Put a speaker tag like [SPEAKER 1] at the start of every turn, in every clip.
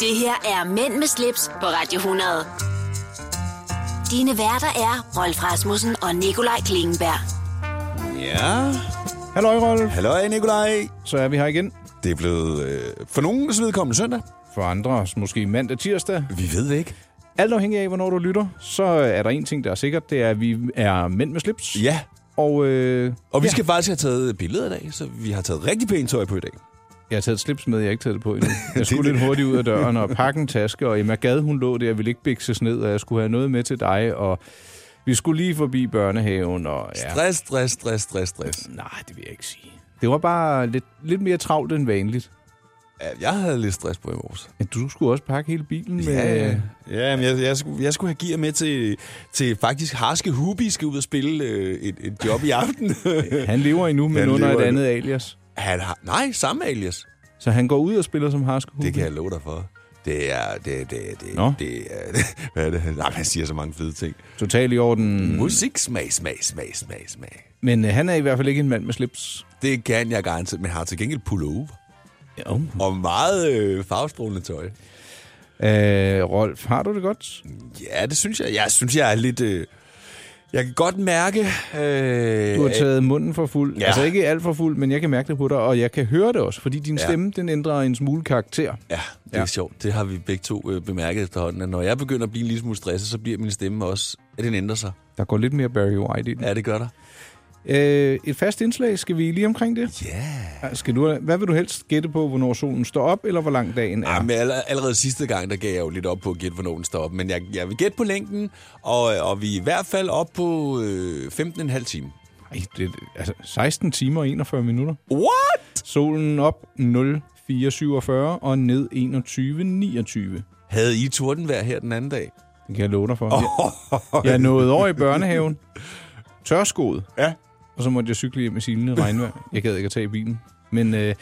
[SPEAKER 1] Det her er Mænd med slips på Radio 100. Dine værter er Rolf Rasmussen og Nikolaj Klingenberg.
[SPEAKER 2] Ja.
[SPEAKER 3] Halløj, Rolf.
[SPEAKER 2] Halløj, Nikolaj.
[SPEAKER 3] Så er vi her igen.
[SPEAKER 2] Det er blevet øh, for nogens vedkommende søndag.
[SPEAKER 3] For andre, måske mandag tirsdag.
[SPEAKER 2] Vi ved det ikke.
[SPEAKER 3] Alt afhængig af, hvornår du lytter, så er der en ting, der er sikkert. Det er, at vi er mænd med slips.
[SPEAKER 2] Ja,
[SPEAKER 3] Og øh,
[SPEAKER 2] og vi
[SPEAKER 3] ja,
[SPEAKER 2] skal faktisk have taget billeder i dag, så vi har taget rigtig pænt tøj på i dag.
[SPEAKER 3] jeg har taget et slips med, jeg har ikke taget det på endnu. Jeg skulle lidt hurtigt ud af døren og pakke en taske, og Emma Gad, hun lå der, jeg ville ikke bikses ned, og jeg skulle have noget med til dig, og vi skulle lige forbi børnehaven, og ja,
[SPEAKER 2] Stress, stress, stress, stress, stress.
[SPEAKER 3] nej, det vil jeg ikke sige. Det var bare lidt, lidt mere travlt end vanligt.
[SPEAKER 2] Ja, Jeg havde lidt stress på i morges.
[SPEAKER 3] Men du skulle også pakke hele bilen med...
[SPEAKER 2] ja men jeg, jeg, skulle, jeg skulle have gear med til, til faktisk Harske Hubi skal ud og spille øh, et, et job i aften.
[SPEAKER 3] Han lever endnu, men
[SPEAKER 2] Han
[SPEAKER 3] under
[SPEAKER 2] lever
[SPEAKER 3] et
[SPEAKER 2] endnu.
[SPEAKER 3] andet alias.
[SPEAKER 2] Han har, nej, samme alias.
[SPEAKER 3] Så han går ud og spiller som harskehund.
[SPEAKER 2] Det kan jeg love dig for. Det er... Det, det, det,
[SPEAKER 3] Nå.
[SPEAKER 2] det er hvad er det? Nej, man siger så mange fede ting.
[SPEAKER 3] Totalt i orden.
[SPEAKER 2] Mm. Musik, smag, smag, smag, smag, smag.
[SPEAKER 3] Men øh, han er i hvert fald ikke en mand med slips.
[SPEAKER 2] Det kan jeg garanteret, men har til gengæld pullover.
[SPEAKER 3] Jo.
[SPEAKER 2] Og meget øh, farvestrålende tøj.
[SPEAKER 3] Øh, Rolf, har du det godt?
[SPEAKER 2] Ja, det synes jeg. Jeg synes, jeg er lidt... Øh, jeg kan godt mærke... Øh,
[SPEAKER 3] Du har taget munden for fuld.
[SPEAKER 2] Ja.
[SPEAKER 3] Ja. Altså ikke alt for fuld, men jeg kan mærke det på dig, og jeg kan høre det også, fordi din
[SPEAKER 2] Ja.
[SPEAKER 3] ja. stemme, den ændrer en smule karakter.
[SPEAKER 2] Ja, det er ja.
[SPEAKER 3] Ja.
[SPEAKER 2] sjovt. Det har vi begge to øh, bemærket efterhånden. At når jeg begynder at blive en lille smule stresset, så bliver min stemme også... At den ændrer sig.
[SPEAKER 3] Der går lidt mere Barry White i den.
[SPEAKER 2] Ja, det gør der.
[SPEAKER 3] Øh, et fast indslag, skal vi lige omkring det?
[SPEAKER 2] Ja. Yeah.
[SPEAKER 3] Skal du, hvad vil du helst gætte på, hvornår solen står op, eller hvor lang dagen er?
[SPEAKER 2] Ja. Jamen, all- allerede sidste gang, der gav jeg jo lidt op på at gætte, hvornår den står op. Men jeg, jeg vil gætte på længden, og, øh, og vi er i hvert fald op på øh, 15,5 timer.
[SPEAKER 3] Ej, det, altså 16 timer og 41 minutter.
[SPEAKER 2] What?
[SPEAKER 3] Solen op 04.47 og ned 21.29.
[SPEAKER 2] Havde I tordenvejr her den anden dag?
[SPEAKER 3] Det kan jeg love dig for. Oh. Jeg nåede over i børnehaven, tørskoet,
[SPEAKER 2] Ja.
[SPEAKER 3] og så måtte jeg cykle hjem i silende regnvejr. Jeg gad ikke at tage i bilen. Men øh,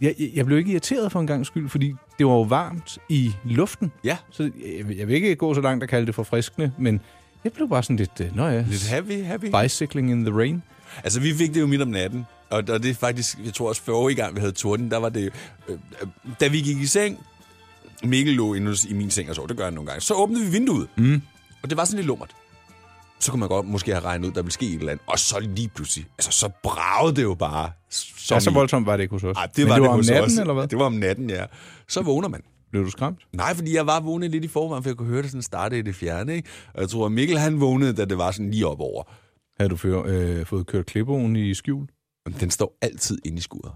[SPEAKER 3] jeg, jeg- jeg blev ikke irriteret for en gang skyld, fordi det var jo varmt i luften.
[SPEAKER 2] Ja.
[SPEAKER 3] Så jeg, jeg vil ikke gå så langt og kalde det for friskende, men jeg blev bare sådan lidt, øh, nå ja,
[SPEAKER 2] Lidt happy, happy.
[SPEAKER 3] bicycling in the rain.
[SPEAKER 2] Altså, vi fik det jo midt om natten. Og, og det er faktisk, jeg tror også, forrige gang, vi havde torden, der var det... Øh, øh, da vi gik i seng, Mikkel lå inde hos- i min seng og sov, det gør han nogle gange. Så åbnede vi vinduet, mm. og det var sådan lidt lummert. Så kunne man godt måske have regnet ud, der ville ske et eller andet. Og så lige pludselig, altså så bragede det jo bare. Som
[SPEAKER 3] Ja,
[SPEAKER 2] i-
[SPEAKER 3] så Altså, voldsomt var det ikke hos os.
[SPEAKER 2] Ej,
[SPEAKER 3] Men
[SPEAKER 2] det var Altså, det,
[SPEAKER 3] det var om
[SPEAKER 2] hos
[SPEAKER 3] natten,
[SPEAKER 2] os.
[SPEAKER 3] eller hvad?
[SPEAKER 2] Det var om natten, ja. Så vågner man.
[SPEAKER 3] Blev du skræmt?
[SPEAKER 2] Nej, fordi jeg var vågnet lidt i forvejen, for jeg kunne høre det sådan starte i det fjerne, ikke? Og jeg tror, at Mikkel han vågnede, da det var sådan lige op over.
[SPEAKER 3] Havde du før, øh, fået kørt klippeoven i skjul?
[SPEAKER 2] Den står altid inde i skuret.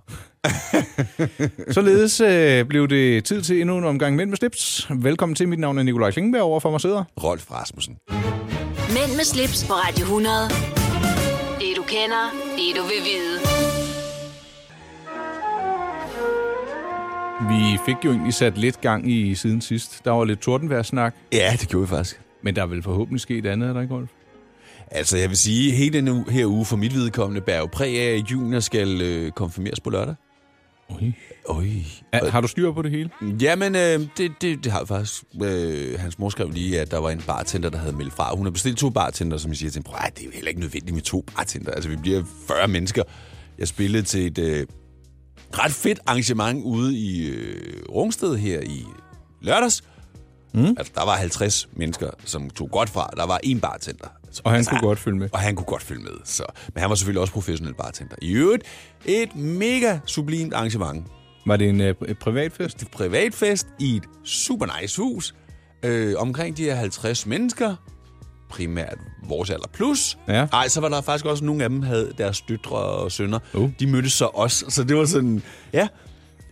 [SPEAKER 3] Således øh, blev det tid til endnu en omgang Mænd med slips. Velkommen til. Mit navn er Nikolaj Klingenberg. Over for mig sidder
[SPEAKER 2] Rolf Rasmussen.
[SPEAKER 1] Mænd med slips på Radio 100. Det du kender, det du vil vide.
[SPEAKER 3] Vi fik jo egentlig sat lidt gang i siden sidst. Der var lidt tordenvejrsnak,
[SPEAKER 2] Ja, det gjorde vi faktisk.
[SPEAKER 3] men der er vel forhåbentlig sket andet, er der ikke, Rolf?
[SPEAKER 2] Altså, jeg vil sige, hele denne u- her uge for mit vedkommende bærer jo præg af, at junior skal øh, konfirmeres på lørdag.
[SPEAKER 3] Oj.
[SPEAKER 2] Øj.
[SPEAKER 3] Er, har du styr på det hele?
[SPEAKER 2] Jamen, øh, det, det, det har jeg faktisk. Øh, hans mor skrev lige, at der var en bartender, der havde meldt fra. Hun har bestilt to bartender, som jeg siger til hende, prøv at, det er jo heller ikke nødvendigt med to bartender. Altså, vi bliver 40 mennesker. Jeg spillede til et øh, ret fedt arrangement ude i øh, Rungsted her i lørdags. Mm. Altså, der var 50 mennesker, som tog godt fra. Der var en bartender. Altså,
[SPEAKER 3] Og han
[SPEAKER 2] altså,
[SPEAKER 3] kunne godt følge med.
[SPEAKER 2] og han kunne godt følge med. Så. Men han var selvfølgelig også professionel bartender. I øvrigt, et mega sublimt arrangement.
[SPEAKER 3] Var det en øh, pri- privatfest?
[SPEAKER 2] Det er privatfest i et super nice hus. Øh, omkring de her 50 mennesker. Primært vores alder plus.
[SPEAKER 3] Ja.
[SPEAKER 2] Ej, så var der faktisk også nogle af dem, havde deres døtre og sønner.
[SPEAKER 3] Oh.
[SPEAKER 2] De mødtes så også, så det var sådan... Ja.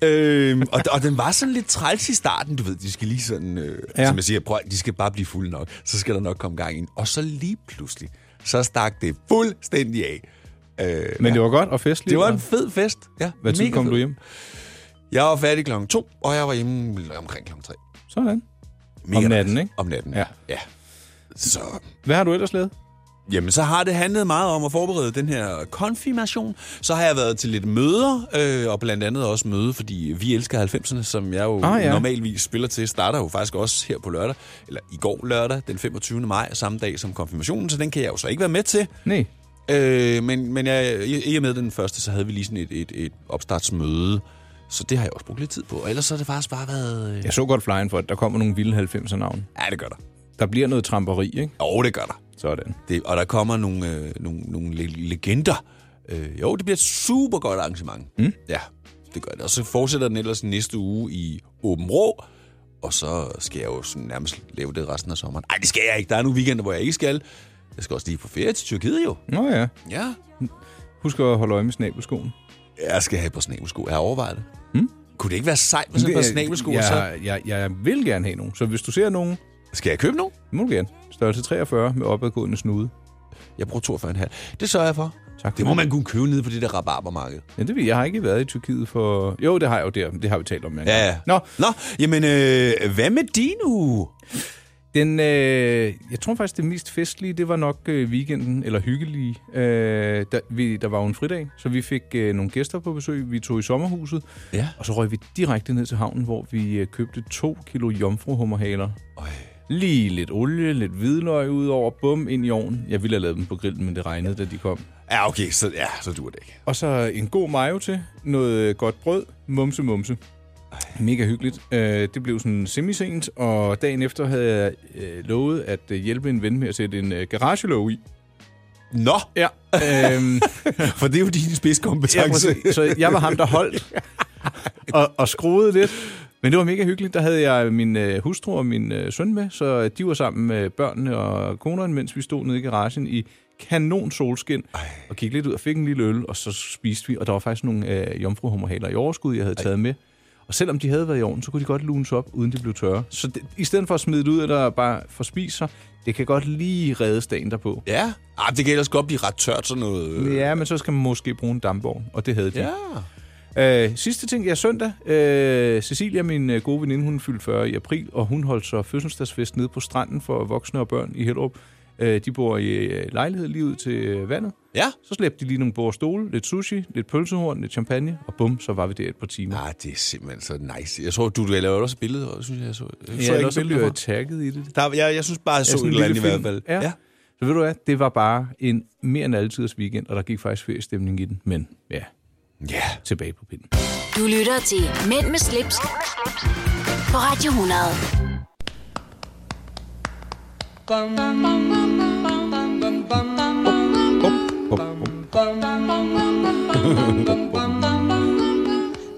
[SPEAKER 2] Øhm, og, og den var sådan lidt træls i starten, du ved, de skal lige sådan, øh, ja.
[SPEAKER 3] Ja.
[SPEAKER 2] som jeg siger, prøv, at- de skal bare blive fulde nok, så skal der nok komme gang ind. Og så lige pludselig, så stak det fuldstændig af. Øh,
[SPEAKER 3] Men det var godt og festligt.
[SPEAKER 2] det var
[SPEAKER 3] og-
[SPEAKER 2] en fed fest. Ja,
[SPEAKER 3] Hvad tid
[SPEAKER 2] mega
[SPEAKER 3] kom
[SPEAKER 2] fed.
[SPEAKER 3] du hjem?
[SPEAKER 2] Jeg var færdig klokken to, og jeg var hjemme omkring klokken tre.
[SPEAKER 3] Sådan.
[SPEAKER 2] Mega
[SPEAKER 3] Om natten,
[SPEAKER 2] nice.
[SPEAKER 3] ikke?
[SPEAKER 2] Om natten, ja.
[SPEAKER 3] Ja.
[SPEAKER 2] ja. Så,
[SPEAKER 3] Hvad har du ellers lavet?
[SPEAKER 2] jamen, så har det handlet meget om at forberede den her konfirmation. Så har jeg været til lidt møder, øh, og blandt andet også møde, fordi vi elsker 90'erne, som jeg jo ah,
[SPEAKER 3] Ah,
[SPEAKER 2] ja.
[SPEAKER 3] ja.
[SPEAKER 2] normalvis spiller til, starter jo faktisk også her på lørdag, eller i går lørdag, den 25. maj, samme dag som konfirmationen, så den kan jeg jo så ikke være med til.
[SPEAKER 3] Nej.
[SPEAKER 2] Øh, men men jeg, i i og med den første, så havde vi lige sådan et, et, et opstartsmøde, Så det har jeg også brugt lidt tid på. Og ellers så har det faktisk bare været... Øh...
[SPEAKER 3] Jeg så godt flyen for, at der kommer nogle vilde 90'er navne.
[SPEAKER 2] Ja, det gør der.
[SPEAKER 3] Der bliver noget tramperi, ikke?
[SPEAKER 2] Jo, det gør der.
[SPEAKER 3] Sådan.
[SPEAKER 2] Det, og der kommer nogle, øh, nogle, nogle le- legender. Øh, jo, det bliver et super godt arrangement. Mm. Ja, det gør det. Og så fortsætter den ellers næste uge i Åben Rå. Og så skal jeg jo sådan nærmest lave det resten af sommeren. Nej, det skal jeg ikke. Der er nogle weekender, hvor jeg ikke skal. Jeg skal også lige på ferie til Tyrkiet jo.
[SPEAKER 3] Nå ja.
[SPEAKER 2] Ja.
[SPEAKER 3] Husk at holde øje med snabelskoen.
[SPEAKER 2] Jeg skal have et par snabelsko. Jeg har overvejet det. Mm. Kunne det ikke være sejt med sådan et par snabelsko?
[SPEAKER 3] jeg,
[SPEAKER 2] Så...
[SPEAKER 3] jeg, jeg, jeg vil gerne have nogen. Så hvis du ser nogen,
[SPEAKER 2] Skal jeg købe nogen?
[SPEAKER 3] må du gerne. Størrelse 43 med opadgående snude.
[SPEAKER 2] Jeg bruger 42,5. Det sørger jeg for.
[SPEAKER 3] Tak for
[SPEAKER 2] Det må
[SPEAKER 3] det.
[SPEAKER 2] man kunne købe nede på det der rabarbermarked.
[SPEAKER 3] Ja, det ved jeg. Jeg har ikke været i Tyrkiet for... Jo, det har jeg jo der. Det har vi talt om. men-
[SPEAKER 2] Ja, ja.
[SPEAKER 3] Nå,
[SPEAKER 2] Nå, jamen, øh, hvad med din uge?
[SPEAKER 3] Den, øh, jeg tror faktisk, det mest festlige, det var nok øh, weekenden, eller hyggelige. Øh, der, vi, der var jo en fridag, så vi fik øh, nogle gæster på besøg. Vi tog i sommerhuset,
[SPEAKER 2] Ja.
[SPEAKER 3] og så røg vi direkte ned til havnen, hvor vi øh, købte to kilo jomfruhummerhaler. Lige lidt olie, lidt hvidløg ud over, bum, ind i ovnen. Jeg ville have lavet dem på grillen, men det regnede, da de kom.
[SPEAKER 2] Ja, okay, så, ja, så dur det ikke.
[SPEAKER 3] Og så en god mayo til, noget øh, godt brød, mumse mumse. Mega hyggeligt. Øh, Det blev sådan semisent, og dagen efter havde jeg øh, lovet at øh, hjælpe en ven med at sætte en øh, garagelåg i.
[SPEAKER 2] Nå,
[SPEAKER 3] Ja. Øhm,
[SPEAKER 2] for det er jo din
[SPEAKER 3] ja
[SPEAKER 2] spidskompetence.
[SPEAKER 3] præcis. så jeg var ham, der holdt og, og skruede lidt. Men det var mega hyggeligt. Der havde jeg min øh, hustru og min øh, søn med, så de var sammen med børnene og koneren, mens vi stod nede i garagen i kanon solskin og kiggede lidt ud og fik en lille øl, og så spiste vi. Og der var faktisk nogle øh, jomfruhummerhaler i overskud, jeg havde taget med. Og selvom de havde været i ovnen, så kunne de godt lunes op, uden de blev tørre. Så det, i stedet for at smide det ud, eller bare forspise sig, det kan godt lige redde dagen derpå.
[SPEAKER 2] Ja, ah, det kan ellers godt blive ret tørt, sådan noget. øh.
[SPEAKER 3] Ja, men så skal man måske bruge en dampvogn, og det havde de.
[SPEAKER 2] ja.
[SPEAKER 3] Øh, sidste ting, ja, søndag. Øh, Cecilia, min øh, gode veninde, hun fyldte 40 i april, og hun holdt så fødselsdagsfest nede på stranden for voksne og børn i Hellerup. Øh, de bor i øh, lejlighed lige ud til øh, vandet.
[SPEAKER 2] Ja.
[SPEAKER 3] Så slæbte de lige nogle bord og stole, lidt sushi, lidt pølsehorn, lidt champagne, og bum, så var vi der et par timer.
[SPEAKER 2] Ah, det er simpelthen så nice. Jeg tror, du du lavede også et billede, og synes jeg, jeg så, jeg
[SPEAKER 3] Ja,
[SPEAKER 2] så
[SPEAKER 3] ellers
[SPEAKER 2] ikke
[SPEAKER 3] så blev
[SPEAKER 2] billeder
[SPEAKER 3] jeg
[SPEAKER 2] fra.
[SPEAKER 3] tagget i det.
[SPEAKER 2] Der, jeg, jeg synes bare, jeg så
[SPEAKER 3] Ja,
[SPEAKER 2] et
[SPEAKER 3] sådan en
[SPEAKER 2] eller andet i
[SPEAKER 3] lille
[SPEAKER 2] hvert
[SPEAKER 3] film.
[SPEAKER 2] fald.
[SPEAKER 3] Ja. ja. Så ved du hvad, det var bare en mere end altiders weekend, og der gik faktisk feriestemning i den. Men ja,
[SPEAKER 2] ja.
[SPEAKER 3] tilbage på pinden.
[SPEAKER 1] Du lytter til Mænd med slips, på Radio 100.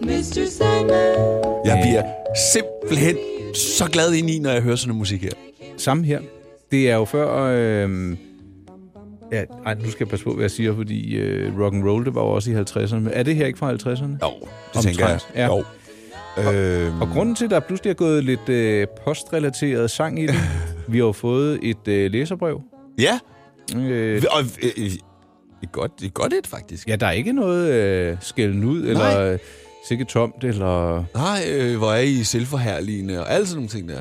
[SPEAKER 4] Mr. Sandman.
[SPEAKER 2] Jeg bliver simpelthen så glad ind i, når jeg hører sådan noget musik her.
[SPEAKER 3] Samme her. Det er jo før... Øh, ja, ej, nu skal jeg passe på, hvad jeg siger, fordi øh, rock and roll det var jo også i 50'erne. Men er det her ikke fra 50'erne?
[SPEAKER 2] Jo, det tænker jeg.
[SPEAKER 3] ja.
[SPEAKER 2] Jo. Øhm,
[SPEAKER 3] Og grunden til, at der pludselig er gået lidt øh, postrelateret sang i det, vi har jo fået et øh, læserbrev.
[SPEAKER 2] ja,
[SPEAKER 3] Øh,
[SPEAKER 2] og, øh, øh, det er godt, det er godt et, faktisk.
[SPEAKER 3] ja, der er ikke noget øh, skælden ud, eller øh, sikkert tomt, eller...
[SPEAKER 2] Nej, øh, hvor er I selvforherligende og alle sådan nogle ting der.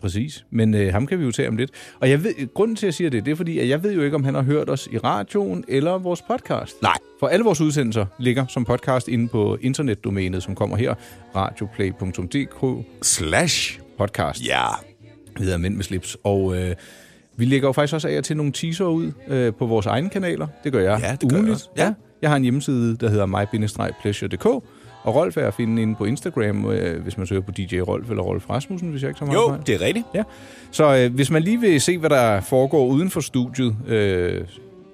[SPEAKER 3] Præcis, men øh, ham kan vi jo tage om lidt. Og jeg ved, grunden til, at jeg siger det, det er fordi, at jeg ved jo ikke, om han har hørt os i radioen eller vores podcast.
[SPEAKER 2] Nej.
[SPEAKER 3] For alle vores udsendelser ligger som podcast inde på internetdomænet, som kommer her, radioplay.dk
[SPEAKER 2] Slash.
[SPEAKER 3] podcast.
[SPEAKER 2] Ja.
[SPEAKER 3] Vi hedder Mænd med slips, og øh, vi lægger jo faktisk også af og til nogle teaser ud øh, på vores egne kanaler. Det gør jeg
[SPEAKER 2] Ja, det gør jeg
[SPEAKER 3] ugentligt.
[SPEAKER 2] også. Ja.
[SPEAKER 3] Jeg har en hjemmeside, der hedder my-pleasure.dk, og Rolf er at finde inde på Instagram, øh, hvis man søger på DJ Rolf eller Rolf Rasmussen, hvis jeg ikke så meget
[SPEAKER 2] Jo, det er rigtigt.
[SPEAKER 3] Ja. Så øh, hvis man lige vil se, hvad der foregår uden for studiet, øh,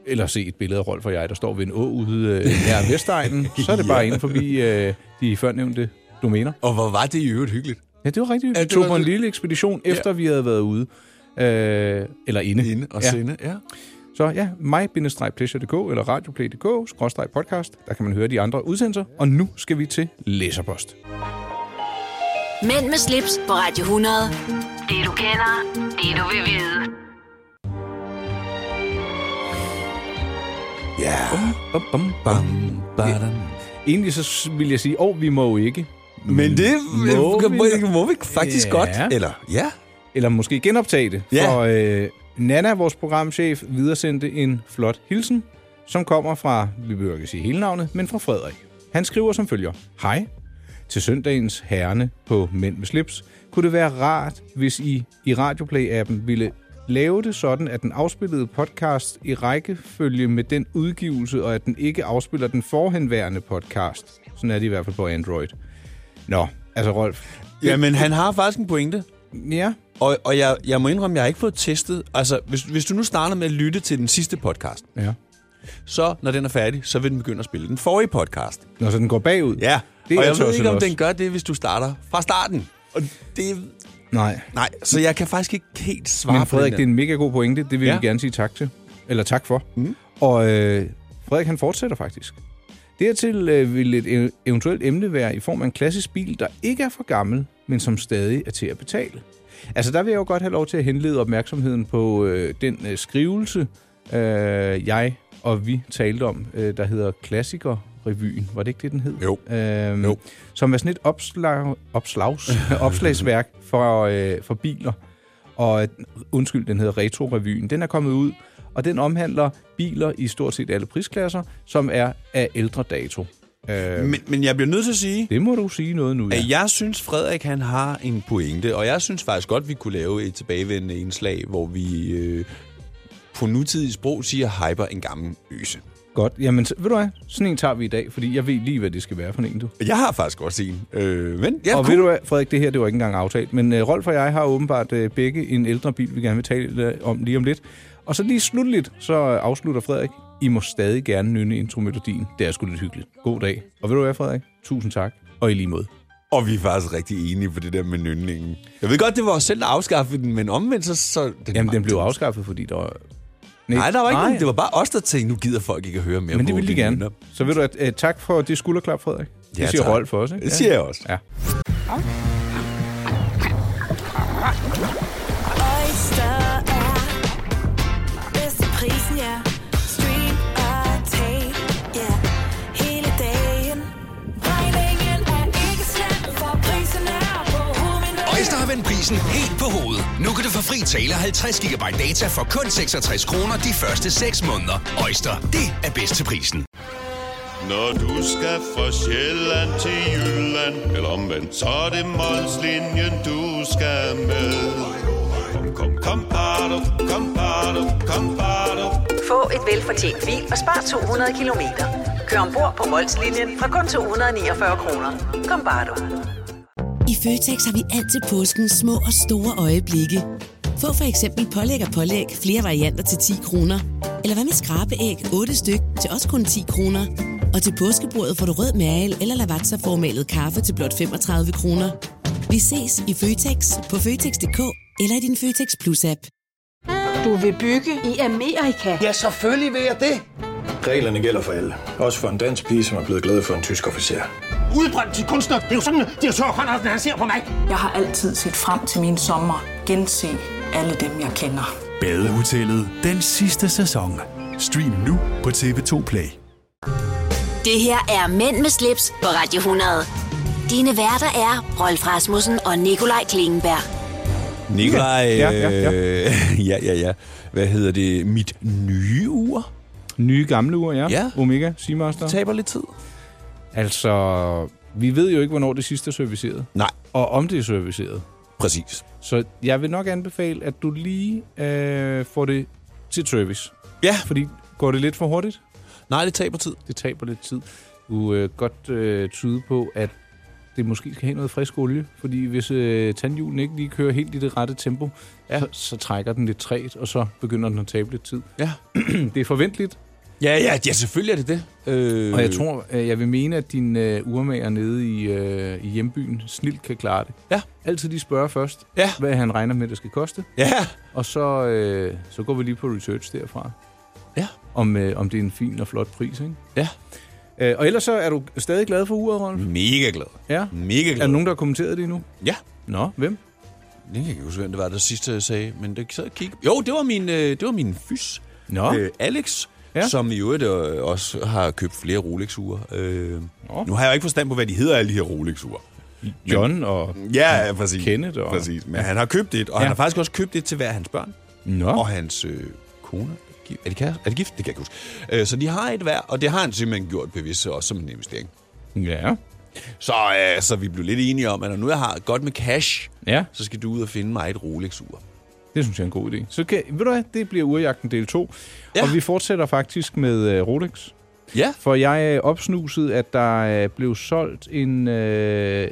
[SPEAKER 3] eller se et billede af Rolf og jeg, der står ved en å ude øh, nær Vestegnen, så er det bare inde forbi øh, de førnævnte domæner.
[SPEAKER 2] Og hvor var det i øvrigt hyggeligt?
[SPEAKER 3] Ja, det var rigtigt.
[SPEAKER 2] Ja,
[SPEAKER 3] Vi
[SPEAKER 2] det
[SPEAKER 3] tog
[SPEAKER 2] var
[SPEAKER 3] på en
[SPEAKER 2] det.
[SPEAKER 3] lille ekspedition, efter vi havde været ude. Øh, eller inde.
[SPEAKER 2] Inde og
[SPEAKER 3] Ja.
[SPEAKER 2] sende, ja.
[SPEAKER 3] Så ja, mig-pleasure.dk eller radioplay.dk-podcast. Der kan man høre de andre udsendelser. Og nu skal vi til læserpost.
[SPEAKER 1] Mænd med slips på Radio 100. Det du kender, det du vil vide.
[SPEAKER 2] Ja.
[SPEAKER 3] Bum, bum,
[SPEAKER 2] Bam,
[SPEAKER 3] bum.
[SPEAKER 2] badam.
[SPEAKER 3] Egentlig så vil jeg sige, åh, oh, vi må jo ikke.
[SPEAKER 2] Men det
[SPEAKER 3] Må
[SPEAKER 2] må,
[SPEAKER 3] vi-
[SPEAKER 2] må, vi, må vi faktisk ja.
[SPEAKER 3] Ja.
[SPEAKER 2] godt. Eller? Ja.
[SPEAKER 3] eller måske genoptage det.
[SPEAKER 2] Ja.
[SPEAKER 3] For øh, Nana, vores programchef, videresendte en flot hilsen, som kommer fra, vi behøver ikke sige hele navnet, men fra Frederik. Han skriver som følger. Hej. Til søndagens herrene på Mænd med slips kunne det være rart, hvis I i Radioplay-appen ville lave det sådan, at den afspillede podcast i rækkefølge med den udgivelse, og at den ikke afspiller den forhenværende podcast. Sådan er det i hvert fald på Android. Nå, altså Rolf.
[SPEAKER 2] Jamen, han har faktisk en pointe.
[SPEAKER 3] Ja,
[SPEAKER 2] Og, og jeg, jeg må indrømme, jeg har ikke fået testet... Altså, hvis, hvis du nu starter med at lytte til den sidste podcast,
[SPEAKER 3] ja.
[SPEAKER 2] så når den er færdig, så vil den begynde at spille den forrige podcast.
[SPEAKER 3] Når så den går bagud.
[SPEAKER 2] Ja,
[SPEAKER 3] Det
[SPEAKER 2] det
[SPEAKER 3] er
[SPEAKER 2] og jeg ved
[SPEAKER 3] tosset
[SPEAKER 2] ikke, om
[SPEAKER 3] også.
[SPEAKER 2] den gør det, hvis du starter fra starten. Og det...
[SPEAKER 3] Nej.
[SPEAKER 2] Nej, så jeg kan faktisk ikke helt svare
[SPEAKER 3] Men Frederik,
[SPEAKER 2] på
[SPEAKER 3] det er en mega god pointe. Det vil ja.
[SPEAKER 2] Ja.
[SPEAKER 3] vi gerne sige tak til. Eller tak for. Mm. Og øh, Frederik, han fortsætter faktisk. Dertil øh, vil et ev- eventuelt emne være i form af en klassisk bil, der ikke er for gammel, men som stadig er til at betale. Altså, der vil jeg jo godt have lov til at henlede opmærksomheden på øh, den øh, skrivelse, øh, jeg og vi talte om, øh, der hedder Klassikerrevyen. Var det ikke det, den hed?
[SPEAKER 2] Jo.
[SPEAKER 3] Øhm,
[SPEAKER 2] Jo.
[SPEAKER 3] Som er sådan et opslag, opslags, opslagsværk for, øh, for biler. Og øh, undskyld, den hedder Retro-revyen. Den er kommet ud, og den omhandler biler i stort set alle prisklasser, som er af ældre dato. Øh,
[SPEAKER 2] Men, men jeg bliver nødt til at sige,
[SPEAKER 3] det må du sige noget nu, ja.
[SPEAKER 2] at jeg synes, Frederik han har en pointe, og jeg synes faktisk godt, vi kunne lave et tilbagevendende indslag, hvor vi øh, på nutidig sprog siger hyper en gammel øse.
[SPEAKER 3] Godt. Jamen, så, ved du hvad? Sådan en tager vi i dag, fordi jeg ved lige, hvad det skal være for en, du.
[SPEAKER 2] Jeg har faktisk også en. Øh, men ja,
[SPEAKER 3] og
[SPEAKER 2] cool.
[SPEAKER 3] ved du hvad, Frederik, det her det var ikke engang aftalt, men øh, Rolf og jeg har åbenbart øh, begge en ældre bil, vi gerne vil tale øh, om lige om lidt. Og så lige slutligt, så øh, afslutter Frederik. I må stadig gerne nynne intromelodien. Det er sgu lidt hyggeligt. God dag. Og ved du hvad, Frederik? Tusind tak. Og i lige måde.
[SPEAKER 2] Og vi er faktisk rigtig enige på det der med nynningen. Jeg ved godt, det var os selv, der afskaffede den, men omvendt så... så den
[SPEAKER 3] Jamen, den blev afskaffet, fordi der var...
[SPEAKER 2] Nej, der var ikke nogen. Det var bare os, der tænkte, nu gider folk ikke at høre mere
[SPEAKER 3] Men det
[SPEAKER 2] på
[SPEAKER 3] ville de
[SPEAKER 2] dine
[SPEAKER 3] gerne.
[SPEAKER 2] nynner.
[SPEAKER 3] Så ved du at øh, tak for det skulderklap, Frederik. Det
[SPEAKER 2] Ja,
[SPEAKER 3] siger
[SPEAKER 2] tak.
[SPEAKER 3] Rolf også, ikke?
[SPEAKER 2] Det siger jeg også.
[SPEAKER 3] Ja.
[SPEAKER 5] Oyster er bedst til prisen, ja. Stream og tag, ja. Hele dagen. Regningen er ikke slem, for prisen er på hovedet.
[SPEAKER 6] Øjster har vendt prisen helt på hovedet. Nu kan du få fri tale og 50 GB data for kun 66 kroner de første 6 måneder. Øjster, det er bedst til prisen.
[SPEAKER 7] Når du skal fra Sjælland til Jylland Eller omvendt, så er det Molslinjen, du skal med Kom, kom, kom, bado, kom, bado, kom, bado.
[SPEAKER 8] Få et velfortjent bil og spar 200 kilometer. Kør ombord på Molslinjen fra kun 249 kroner. Kom bare du.
[SPEAKER 9] I Føtex har vi altid påsken små og store øjeblikke. Få for eksempel pålæg og pålæg flere varianter til 10 kroner. Eller hvad med skrabeæg 8 styk til også kun 10 kroner. Og til påskebordet får du rød mal eller lavatserformalet kaffe til blot 35 kroner. Vi ses i Føtex på Føtex.dk eller i din Føtex Plus-app.
[SPEAKER 10] Du vil bygge i Amerika?
[SPEAKER 11] Ja, selvfølgelig vil jeg det. Reglerne gælder for alle. Også for en dansk pige, som er blevet glad for en tysk officer.
[SPEAKER 12] udbrændt til kunstner. Det er jo sådan, at de har Conradsen, han ser på mig.
[SPEAKER 10] Jeg har altid set frem til min sommer. Gense alle dem, jeg kender.
[SPEAKER 6] Badehotellet den sidste sæson. Stream nu på TV2 Play.
[SPEAKER 1] Det her er Mænd med slips på Radio 100. Dine værter er Rolf Rasmussen og Nikolaj Klingenberg.
[SPEAKER 2] Nikolaj,
[SPEAKER 3] Ja, ja, ja.
[SPEAKER 2] øh, ja, ja, ja. Hvad hedder det? Mit nye ur
[SPEAKER 3] Nye gamle uger, ja.
[SPEAKER 2] Ja.
[SPEAKER 3] Omega, Seamaster.
[SPEAKER 2] taber lidt tid.
[SPEAKER 3] Altså, vi ved jo ikke, hvornår det sidste er serviceret.
[SPEAKER 2] Nej,
[SPEAKER 3] Og om det er serviceret.
[SPEAKER 2] præcis.
[SPEAKER 3] Så jeg vil nok anbefale, at du lige øh, får det til service.
[SPEAKER 2] Ja,
[SPEAKER 3] Fordi går det lidt for hurtigt?
[SPEAKER 2] nej, det taber tid.
[SPEAKER 3] Det taber lidt tid. Du øh, godt øh, tyde på, at det måske skal have noget frisk olie, fordi hvis øh, tandhjulen ikke lige kører helt i det rette tempo, ja. så, så trækker den lidt træt, og så begynder den at tabe lidt tid.
[SPEAKER 2] Ja,
[SPEAKER 3] Det er forventeligt,
[SPEAKER 2] ja, ja, ja selvfølgelig er det det. Øh,
[SPEAKER 3] og jeg tror, øh, jeg vil mene, at din øh, urmager nede i, øh, i hjembyen snilt kan klare det.
[SPEAKER 2] Ja.
[SPEAKER 3] Altid lige spørge først,
[SPEAKER 2] Ja.
[SPEAKER 3] hvad han regner med, det skal koste,
[SPEAKER 2] Ja,
[SPEAKER 3] og så, øh, så går vi lige på research derfra.
[SPEAKER 2] Ja.
[SPEAKER 3] Om, øh, om det er en fin og flot pris, ikke?
[SPEAKER 2] ja.
[SPEAKER 3] Øh, og ellers så er du stadig glad for uret, Rolf?
[SPEAKER 2] Mega glad.
[SPEAKER 3] Ja.
[SPEAKER 2] Mega glad.
[SPEAKER 3] Er der nogen, der har kommenteret det endnu?
[SPEAKER 2] Ja.
[SPEAKER 3] Nå, hvem?
[SPEAKER 2] Jeg kan ikke huske, hvem det var, der sidste jeg sagde, men det sad og kigge. Jo, det var min, øh, det var min fys,
[SPEAKER 3] Nå.
[SPEAKER 2] øh, Alex,
[SPEAKER 3] Ja.
[SPEAKER 2] ja. som i øvrigt øh, også har købt flere Rolex-ure. Øh, nu har jeg jo ikke forstand på, hvad de hedder, alle de her Rolex-ure.
[SPEAKER 3] John og...
[SPEAKER 2] Ja, ja, præcis.
[SPEAKER 3] Kenneth og-
[SPEAKER 2] Præcis. Men han har købt et, og ja. han har faktisk også købt et til hver af hans børn.
[SPEAKER 3] Nå.
[SPEAKER 2] Og hans øh, kone. Er de, kære? er de gift? Det kan jeg ikke huske. Øh, så de har et hver, og det har han simpelthen gjort bevidst også som en investering.
[SPEAKER 3] Ja.
[SPEAKER 2] Så, øh, så vi blev lidt enige om, at når nu jeg har godt med cash,
[SPEAKER 3] Ja,
[SPEAKER 2] så skal du ud og finde mig et Rolex-ur.
[SPEAKER 3] det synes jeg er en god idé. Så kan, ved du hvad, det bliver urejagten del 2. Ja.
[SPEAKER 2] Ja.
[SPEAKER 3] Og vi fortsætter faktisk med øh, Rolex.
[SPEAKER 2] Ja.
[SPEAKER 3] For jeg øh, opsnusede, at der øh, blev solgt en øh,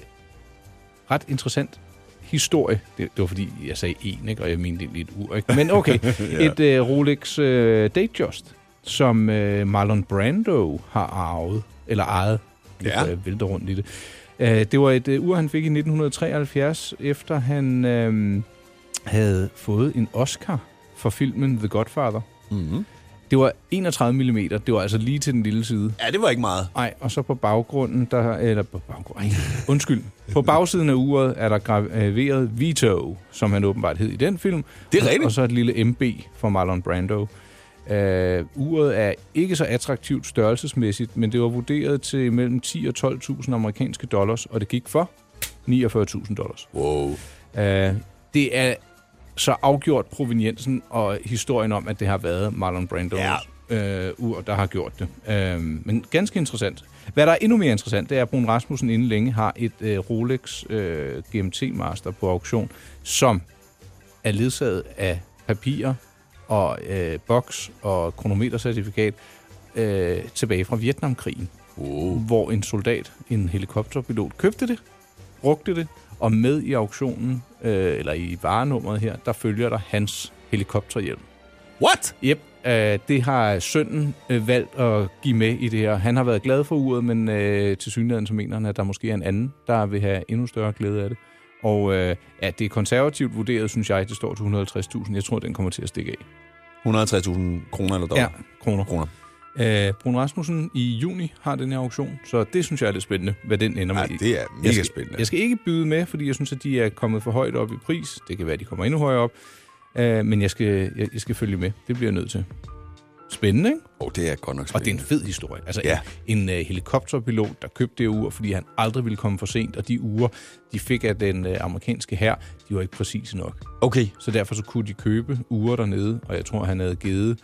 [SPEAKER 3] ret interessant historie. Det, det var fordi, jeg sagde en, ikke? og jeg mente egentlig et ur. Ikke? Men okay,
[SPEAKER 13] Ja.
[SPEAKER 3] et øh, Rolex øh, Datejust, som øh, Marlon Brando har arvet, eller ejet. Ja. Jeg vælter rundt i det. Øh, det var et øh, ur, han fik i 1973, efter han øh, havde fået en Oscar for filmen The Godfather.
[SPEAKER 2] Mm-hmm.
[SPEAKER 3] Det var 31 mm. Det var altså lige til den lille side.
[SPEAKER 2] Ja, det var ikke meget.
[SPEAKER 3] Nej, og så på baggrunden, der, eller på baggrunden, undskyld. På bagsiden af uret er der graveret Vito, som han åbenbart hed i den film.
[SPEAKER 2] Det er rigtigt.
[SPEAKER 3] Og så et lille MB for Marlon Brando. Uh, uret er ikke så attraktivt størrelsesmæssigt, men det var vurderet til mellem 10 og 12.000 amerikanske dollars, og det gik for 49.000 dollars.
[SPEAKER 2] Wow.
[SPEAKER 3] Uh, det er så afgjort proveniensen og historien om, at det har været Marlon Brandos ja. øh, ur, der har gjort det. Øh, men ganske interessant. Hvad der er endnu mere interessant, det er, at Brun Rasmussen inden længe har et øh, Rolex øh, GMT Master på auktion, som er ledsaget af papirer og øh, boks og kronometercertifikat øh, tilbage fra Vietnamkrigen,
[SPEAKER 2] oh.
[SPEAKER 3] hvor en soldat, en helikopterpilot, købte det, brugte det, og med i auktionen, øh, eller i varenummeret her, der følger der hans helikopterhjelm.
[SPEAKER 2] What?
[SPEAKER 3] Yep. Øh, det har sønnen øh, valgt at give med i det her. Han har været glad for uret, men øh, til synligheden så mener han, at der måske er en anden, der vil have endnu større glæde af det. Og øh, ja, det er konservativt vurderet, synes jeg, det står til 150.000. Jeg tror, den kommer til at stikke af.
[SPEAKER 2] 150.000 kroner eller dollar?
[SPEAKER 3] Ja, kroner.
[SPEAKER 2] kroner.
[SPEAKER 3] Øh, Brun Rasmussen i juni har den her auktion, så det synes jeg er lidt spændende, hvad den ender med. Ja,
[SPEAKER 2] det er mega
[SPEAKER 3] jeg skal,
[SPEAKER 2] spændende.
[SPEAKER 3] Jeg skal ikke byde med, fordi jeg synes, at de er kommet for højt op i pris. Det kan være, at de kommer endnu højere op. Øh, men jeg skal, jeg, jeg skal følge med. Det bliver jeg nødt til. Spændende, ikke?
[SPEAKER 2] Oh, det er godt nok
[SPEAKER 3] Og det er en fed historie. Altså
[SPEAKER 2] Ja.
[SPEAKER 3] ja. en, en uh, helikopterpilot, der købte det ur, fordi han aldrig ville komme for sent, og de uger, de fik af den uh, amerikanske her, de var ikke præcise nok.
[SPEAKER 2] Okay.
[SPEAKER 3] Så derfor så kunne de købe uger dernede, og jeg tror, han havde givet,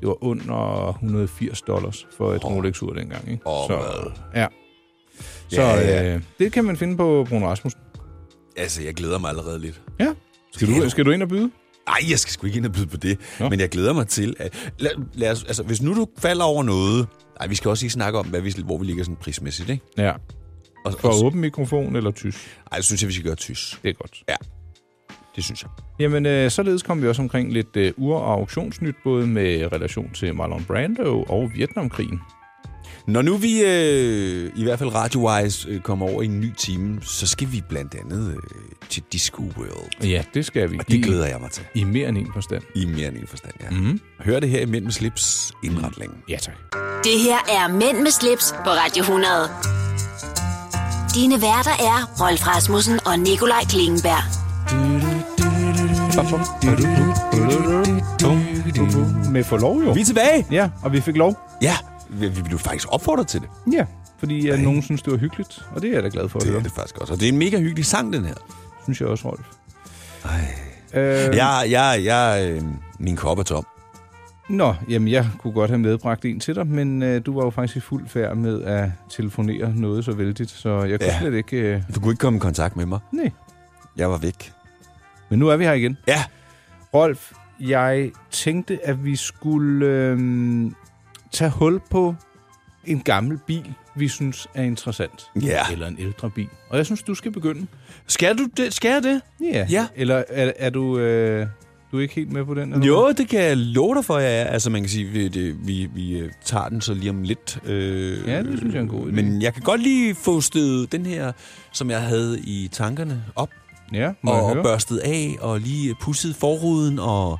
[SPEAKER 3] det var under 180 dollars for et Rolex-ur dengang. Ikke?
[SPEAKER 2] Åh,
[SPEAKER 3] så,
[SPEAKER 2] mad.
[SPEAKER 3] ja. Så
[SPEAKER 2] Ja, ja.
[SPEAKER 3] Øh, det kan man finde på Bruno Rasmussen.
[SPEAKER 2] Altså, jeg glæder mig allerede lidt.
[SPEAKER 3] Ja. Skal du, skal du ind og byde?
[SPEAKER 2] Nej, jeg skal sgu ikke ind og byde på det. Nå. Men jeg glæder mig til, at... Lad, lad os, altså, hvis nu du falder over noget... Nej, vi skal også lige snakke om, hvad vi, hvor vi ligger sådan prismæssigt, ikke?
[SPEAKER 3] Ja.
[SPEAKER 2] Og,
[SPEAKER 3] For åben mikrofon eller tysk?
[SPEAKER 2] Nej, jeg synes, jeg, vi skal gøre tysk.
[SPEAKER 3] Det er godt.
[SPEAKER 2] Ja, det synes jeg.
[SPEAKER 3] Jamen, øh, således kom vi også omkring lidt øh, ur- og auktionsnyt, både med relation til Marlon Brando og Vietnamkrigen.
[SPEAKER 2] Når nu vi øh, i hvert fald radio-wise øh, kommer over i en ny time, så skal vi blandt andet øh, til Disco World.
[SPEAKER 3] Ja, det skal vi.
[SPEAKER 2] Og det
[SPEAKER 3] I-
[SPEAKER 2] glæder jeg mig til.
[SPEAKER 3] I mere end en forstand.
[SPEAKER 2] I mere end en forstand, ja.
[SPEAKER 3] Mm.
[SPEAKER 2] Hør det her imellem slips indret længe.
[SPEAKER 3] Ja, tak.
[SPEAKER 1] Det her er Mænd med slips på Radio 100. Dine værter er Rolf Rasmussen og Nikolaj Klingenberg.
[SPEAKER 3] Med for lov, jo.
[SPEAKER 2] Vi er tilbage.
[SPEAKER 3] Ja, og vi fik lov.
[SPEAKER 2] Ja, vi vi blev faktisk opfordret til det.
[SPEAKER 3] Ja, fordi at nogen synes, det var hyggeligt, og det er jeg da glad for at
[SPEAKER 2] Det er
[SPEAKER 3] høre.
[SPEAKER 2] det faktisk også. Og det er en mega hyggelig sang, den her.
[SPEAKER 3] Synes jeg også, Rolf.
[SPEAKER 2] Øh... Jeg, jeg, jeg, øh, min kop er tom.
[SPEAKER 3] Nå, jamen jeg kunne godt have medbragt en til dig, men øh, du var jo faktisk i fuld færd med at telefonere noget så vældigt, så jeg kunne
[SPEAKER 2] Ja.
[SPEAKER 3] ja. slet ikke... Øh...
[SPEAKER 2] Du kunne ikke komme i kontakt med mig.
[SPEAKER 3] Nej.
[SPEAKER 2] Jeg var væk.
[SPEAKER 3] Men nu er vi her igen.
[SPEAKER 2] Ja.
[SPEAKER 3] Rolf, jeg tænkte, at vi skulle øh, tage hul på en gammel bil, vi synes er interessant.
[SPEAKER 2] Ja.
[SPEAKER 3] Eller en ældre bil. Og jeg synes, du skal begynde.
[SPEAKER 2] Skal, du det? skal jeg det?
[SPEAKER 3] Ja.
[SPEAKER 2] Ja.
[SPEAKER 3] Eller er, er du... Øh, du er ikke helt med på den? Eller
[SPEAKER 2] Jo,
[SPEAKER 3] hvad?
[SPEAKER 2] det kan jeg love dig for, jeg er. Altså, man kan sige, vi, det, vi, vi øh, tager den så lige om lidt. Øh,
[SPEAKER 3] Ja, det synes jeg er en god idé.
[SPEAKER 2] Men jeg kan godt lige få stedet den her, som jeg havde i tankerne, op.
[SPEAKER 3] Ja, må jeg
[SPEAKER 2] og
[SPEAKER 3] høre?
[SPEAKER 2] børstet af, og lige pusset forruden, og...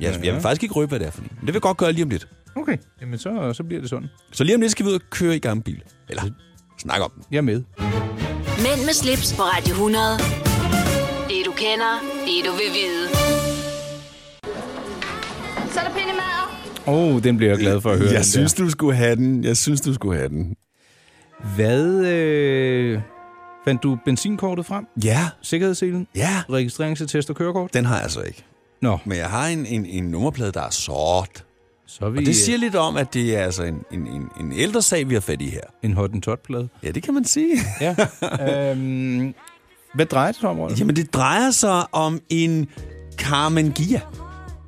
[SPEAKER 2] Ja, ja.
[SPEAKER 3] Ja.
[SPEAKER 2] Jeg vil faktisk ikke røbe, hvad det er for en. Men det vil jeg godt gøre lige om lidt.
[SPEAKER 3] Okay, jamen så, så bliver det sådan.
[SPEAKER 2] Så lige om lidt skal vi ud og køre i gammel bil. Eller snakke om den.
[SPEAKER 3] Jeg er med.
[SPEAKER 1] Mænd med slips på Radio 100. Det du kender, det du vil vide.
[SPEAKER 14] Så er der pindemad.
[SPEAKER 3] Åh, oh, den bliver jeg glad for at høre.
[SPEAKER 2] Jeg
[SPEAKER 3] den
[SPEAKER 2] synes,
[SPEAKER 3] der.
[SPEAKER 2] du skulle have den. Jeg synes, du skulle have den.
[SPEAKER 3] Hvad øh, fandt du benzinkortet frem?
[SPEAKER 2] Ja.
[SPEAKER 3] Sikkerhedsselen?
[SPEAKER 2] Ja.
[SPEAKER 3] Registreringsattest og kørekort?
[SPEAKER 2] Den har jeg så ikke.
[SPEAKER 3] Nå.
[SPEAKER 2] Men jeg har en, en, en nummerplade, der er sort.
[SPEAKER 3] Så vi,
[SPEAKER 2] og det siger lidt om, at det er altså en, en, en, en ældre sag, vi har fat i her.
[SPEAKER 3] En hottentot-plade?
[SPEAKER 2] Ja, det kan man sige.
[SPEAKER 3] Ja. øhm, hvad drejer det sig om, Rolf?
[SPEAKER 2] Jamen, det drejer sig om en Carmen Gia.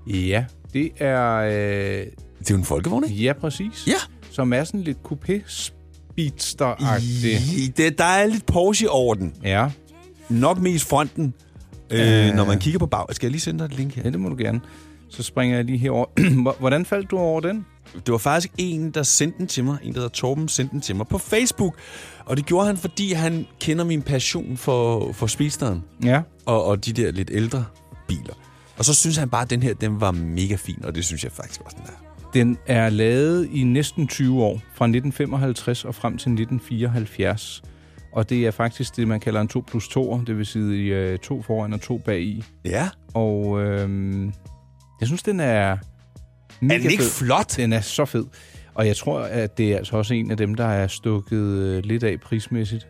[SPEAKER 3] Ja, det er... Øh, det
[SPEAKER 2] er jo en folkevogn,
[SPEAKER 3] ikke? Ja, præcis.
[SPEAKER 2] Ja.
[SPEAKER 3] Som er sådan lidt coupé speedster agtig
[SPEAKER 2] I, det, der er lidt Porsche over den.
[SPEAKER 3] Ja.
[SPEAKER 2] nok mest fronten, øh, når man kigger på bag. Skal jeg lige sende dig et link her?
[SPEAKER 3] Ja, det må du gerne. Så springer jeg lige herover. Hvor- Hvordan faldt du over den?
[SPEAKER 2] Det var faktisk en, der sendte den til mig. En, der hedder Torben, sendte den til mig på Facebook. Og det gjorde han, fordi han kender min passion for, for speedsteren.
[SPEAKER 3] Ja.
[SPEAKER 2] Og, og de der lidt ældre biler. Og så synes han bare, at den her den var mega fin, og det synes jeg faktisk også, den er.
[SPEAKER 3] Den er lavet i næsten 20 år, fra 1955 og frem til 1974. Og det er faktisk det, man kalder en 2 plus 2, det vil sige øh, to foran og to bag i.
[SPEAKER 2] Ja.
[SPEAKER 3] Og øhm, jeg synes, den er mega
[SPEAKER 2] Er den ikke
[SPEAKER 3] fed.
[SPEAKER 2] flot?
[SPEAKER 3] Den er så fed. Og jeg tror, at det er altså også en af dem, der er stukket øh, lidt af prismæssigt.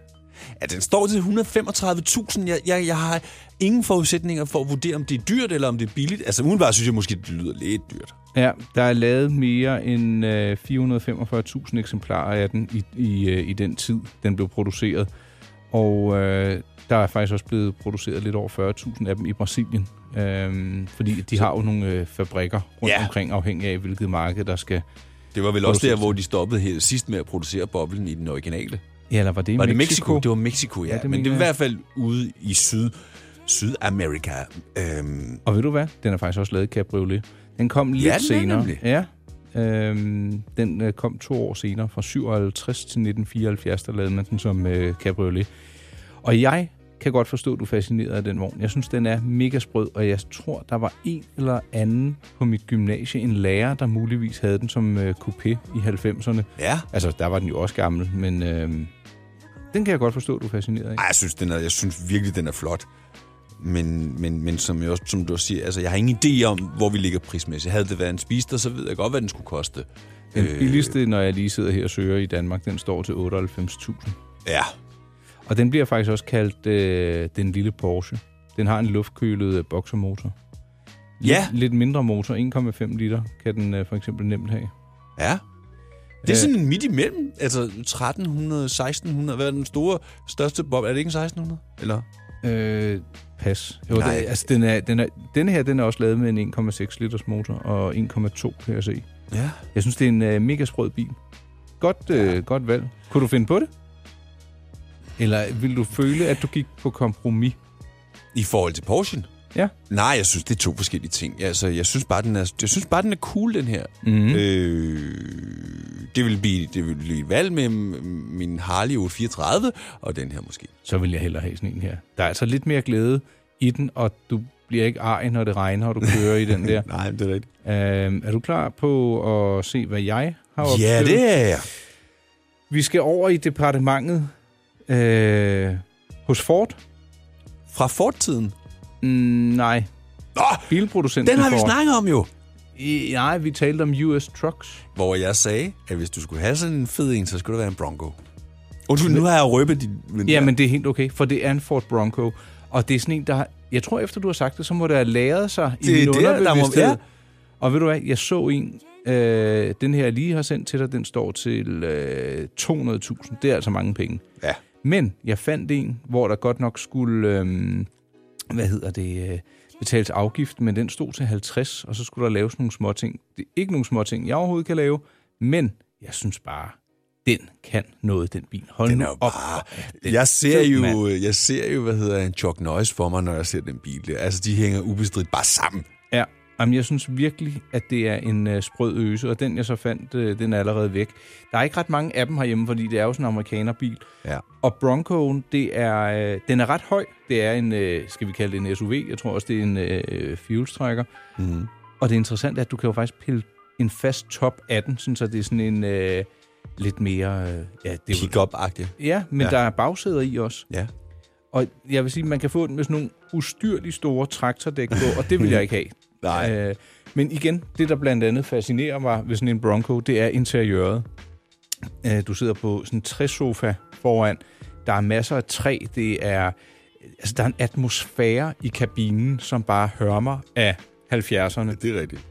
[SPEAKER 2] Ja, den står til 135.000. Jeg, jeg, jeg har ingen forudsætninger for at vurdere, om det er dyrt eller om det er billigt. Altså udenbart synes jeg måske, det lyder lidt dyrt.
[SPEAKER 3] Ja, der er lavet mere end øh, 445.000 eksemplarer af den i, i, øh, i den tid, den blev produceret. Og øh, der er faktisk også blevet produceret lidt over 40.000 af dem i Brasilien. Øhm, fordi de har jo nogle øh, fabrikker rundt
[SPEAKER 2] Ja.
[SPEAKER 3] ja. omkring, afhængig af hvilket marked, der skal...
[SPEAKER 2] Det var vel også der, hvor de stoppede her sidst med at producere boblen i den originale.
[SPEAKER 3] Ja, eller var det i
[SPEAKER 2] var
[SPEAKER 3] Mexico?
[SPEAKER 2] Det var Mexico, ja.
[SPEAKER 3] Ja,
[SPEAKER 2] ja
[SPEAKER 3] det
[SPEAKER 2] det Men
[SPEAKER 3] mener
[SPEAKER 2] det er i
[SPEAKER 3] jeg.
[SPEAKER 2] hvert fald ude i syd, Sydamerika. Øhm,
[SPEAKER 3] Og ved du hvad? Den er faktisk også lavet i Cabriolet. Den kom lidt
[SPEAKER 2] den er
[SPEAKER 3] senere.
[SPEAKER 2] nemlig.
[SPEAKER 3] Ja, øhm, den øh, kom to år senere, fra 57 til 1974, der lavede man den som øh, Cabriolet. Og jeg kan godt forstå, at du er fascineret af den vogn. Jeg synes, den er mega sprød, og jeg tror, der var en eller anden på mit gymnasie, en lærer, der muligvis havde den som øh, coupé i 90'erne.
[SPEAKER 2] Ja.
[SPEAKER 3] Altså, der var den jo også gammel, men øh, den kan jeg godt forstå, at du er fascineret af.
[SPEAKER 2] ej, jeg synes, den er, jeg synes virkelig, den er flot. Men, men, men som, jeg også, som du også siger, altså, jeg har ingen idé om, hvor vi ligger prismæssigt. Havde det været en spister, så ved jeg godt, hvad den skulle koste.
[SPEAKER 3] Den
[SPEAKER 2] Øh,
[SPEAKER 3] billigste, når jeg lige sidder her og søger i Danmark, den står til 98.000.
[SPEAKER 2] Ja.
[SPEAKER 3] Og den bliver faktisk også kaldt øh, den lille Porsche. Den har en luftkølet øh, boxermotor. Lidt,
[SPEAKER 2] Ja.
[SPEAKER 3] Lidt mindre motor, 1,5 liter, kan den øh, for eksempel nemt have.
[SPEAKER 2] Ja. Det
[SPEAKER 3] Øh.
[SPEAKER 2] er sådan en midt imellem. Altså 1300, 1600. Hvad er den store, største bob? Er det ikke en 1600? Eller?
[SPEAKER 3] Øh, pas. Jo, det,
[SPEAKER 2] Nej.
[SPEAKER 3] altså, den, er, den, er, den her den er også lavet med en 1,6 liters motor og 1,2 kan jeg se.
[SPEAKER 2] Ja.
[SPEAKER 3] Jeg synes, det er en øh, mega sprød bil. Godt, øh, godt valg. Kunne du finde på det? Eller vil du føle, at du gik på kompromis?
[SPEAKER 2] I forhold til Porschen?
[SPEAKER 3] Ja.
[SPEAKER 2] Nej, jeg synes, det er to forskellige ting. Altså, jeg synes bare, den er, jeg synes bare, den er cool, den her.
[SPEAKER 3] Mhm.
[SPEAKER 2] Øh, det vil blive, det vil blive et valg med m- min Harley 834 og den her måske.
[SPEAKER 3] så vil jeg hellere have sådan en her. Der er altså lidt mere glæde i den, og du bliver ikke arg, når det regner, og du kører i den der.
[SPEAKER 2] Nej, det er rigtigt.
[SPEAKER 3] Øhm, er du klar på at se, hvad jeg har
[SPEAKER 2] Ja,
[SPEAKER 3] opstillet?
[SPEAKER 2] det er jeg.
[SPEAKER 3] Vi skal over i departementet øh, hos Ford.
[SPEAKER 2] Fra Ford-tiden?
[SPEAKER 3] Mm, nej.
[SPEAKER 2] Nå,
[SPEAKER 3] Bilproducenten
[SPEAKER 2] Den har vi
[SPEAKER 3] Ford.
[SPEAKER 2] snakket om jo.
[SPEAKER 3] I, nej, vi talte om US Trucks.
[SPEAKER 2] Hvor jeg sagde, at hvis du skulle have sådan en fed en, så skulle det være en Bronco. Undskyld, nu har jeg røbet din... Men
[SPEAKER 3] Ja, men det er helt okay, for det er en Ford Bronco. Og det er sådan en, der har, Jeg tror, efter du har sagt det, så må det have læret sig
[SPEAKER 2] Det
[SPEAKER 3] i
[SPEAKER 2] er
[SPEAKER 3] min
[SPEAKER 2] der, der må-
[SPEAKER 3] underbevidsthed.
[SPEAKER 2] ja.
[SPEAKER 3] Og ved du hvad, jeg så en, øh, den her, jeg lige har sendt til dig, den står til øh, 200.000. Det er altså mange penge.
[SPEAKER 2] Ja.
[SPEAKER 3] Men jeg fandt en, hvor der godt nok skulle, øh, hvad hedder det, øh, betales afgift, men den stod til 50, og så skulle der laves nogle småting. Det er ikke nogle småting, jeg overhovedet kan lave, men jeg synes bare, den kan noget, den bil. Hold
[SPEAKER 2] Den
[SPEAKER 3] nu
[SPEAKER 2] er jo
[SPEAKER 3] op.
[SPEAKER 2] bare-
[SPEAKER 3] Den
[SPEAKER 2] jeg ser
[SPEAKER 3] fed,
[SPEAKER 2] jo,
[SPEAKER 3] mand.
[SPEAKER 2] jeg ser jo, hvad hedder en Chuck Norris for mig, når jeg ser den bil der. Altså, de hænger ubestridt bare sammen.
[SPEAKER 3] Ja, Jamen, jeg synes virkelig, at det er en øh, sprød øse, og den jeg så fandt, øh, den er allerede væk. Der er ikke ret mange af dem herhjemme, fordi det er jo sådan en amerikanerbil.
[SPEAKER 2] Ja.
[SPEAKER 3] Og Broncoen, det er, øh, den er ret høj. Det er en, øh, skal vi kalde det en SUV, jeg tror også, det er en øh, fuelstrækker.
[SPEAKER 2] Mm.
[SPEAKER 3] Og det interessante er, at du kan jo faktisk pille en fast top af den, sådan, så det er sådan en øh, lidt mere... Øh, ja, det er jo-
[SPEAKER 2] Pick-up-agtigt.
[SPEAKER 3] Ja, men
[SPEAKER 2] Ja.
[SPEAKER 3] ja. der er bagsæder i også.
[SPEAKER 2] Ja.
[SPEAKER 3] Og jeg vil sige, at man kan få den med sådan nogle ustyrligt store traktordæk på, og det vil jeg ikke have.
[SPEAKER 2] Nej.
[SPEAKER 3] Øh, men igen, det der blandt andet fascinerer mig ved sådan en Bronco, det er interiøret. Øh, du sidder på sådan en træsofa foran. Der er masser af træ. Det er, altså, der er en atmosfære i kabinen, som bare hørmer af 70'erne.
[SPEAKER 2] Det er rigtigt.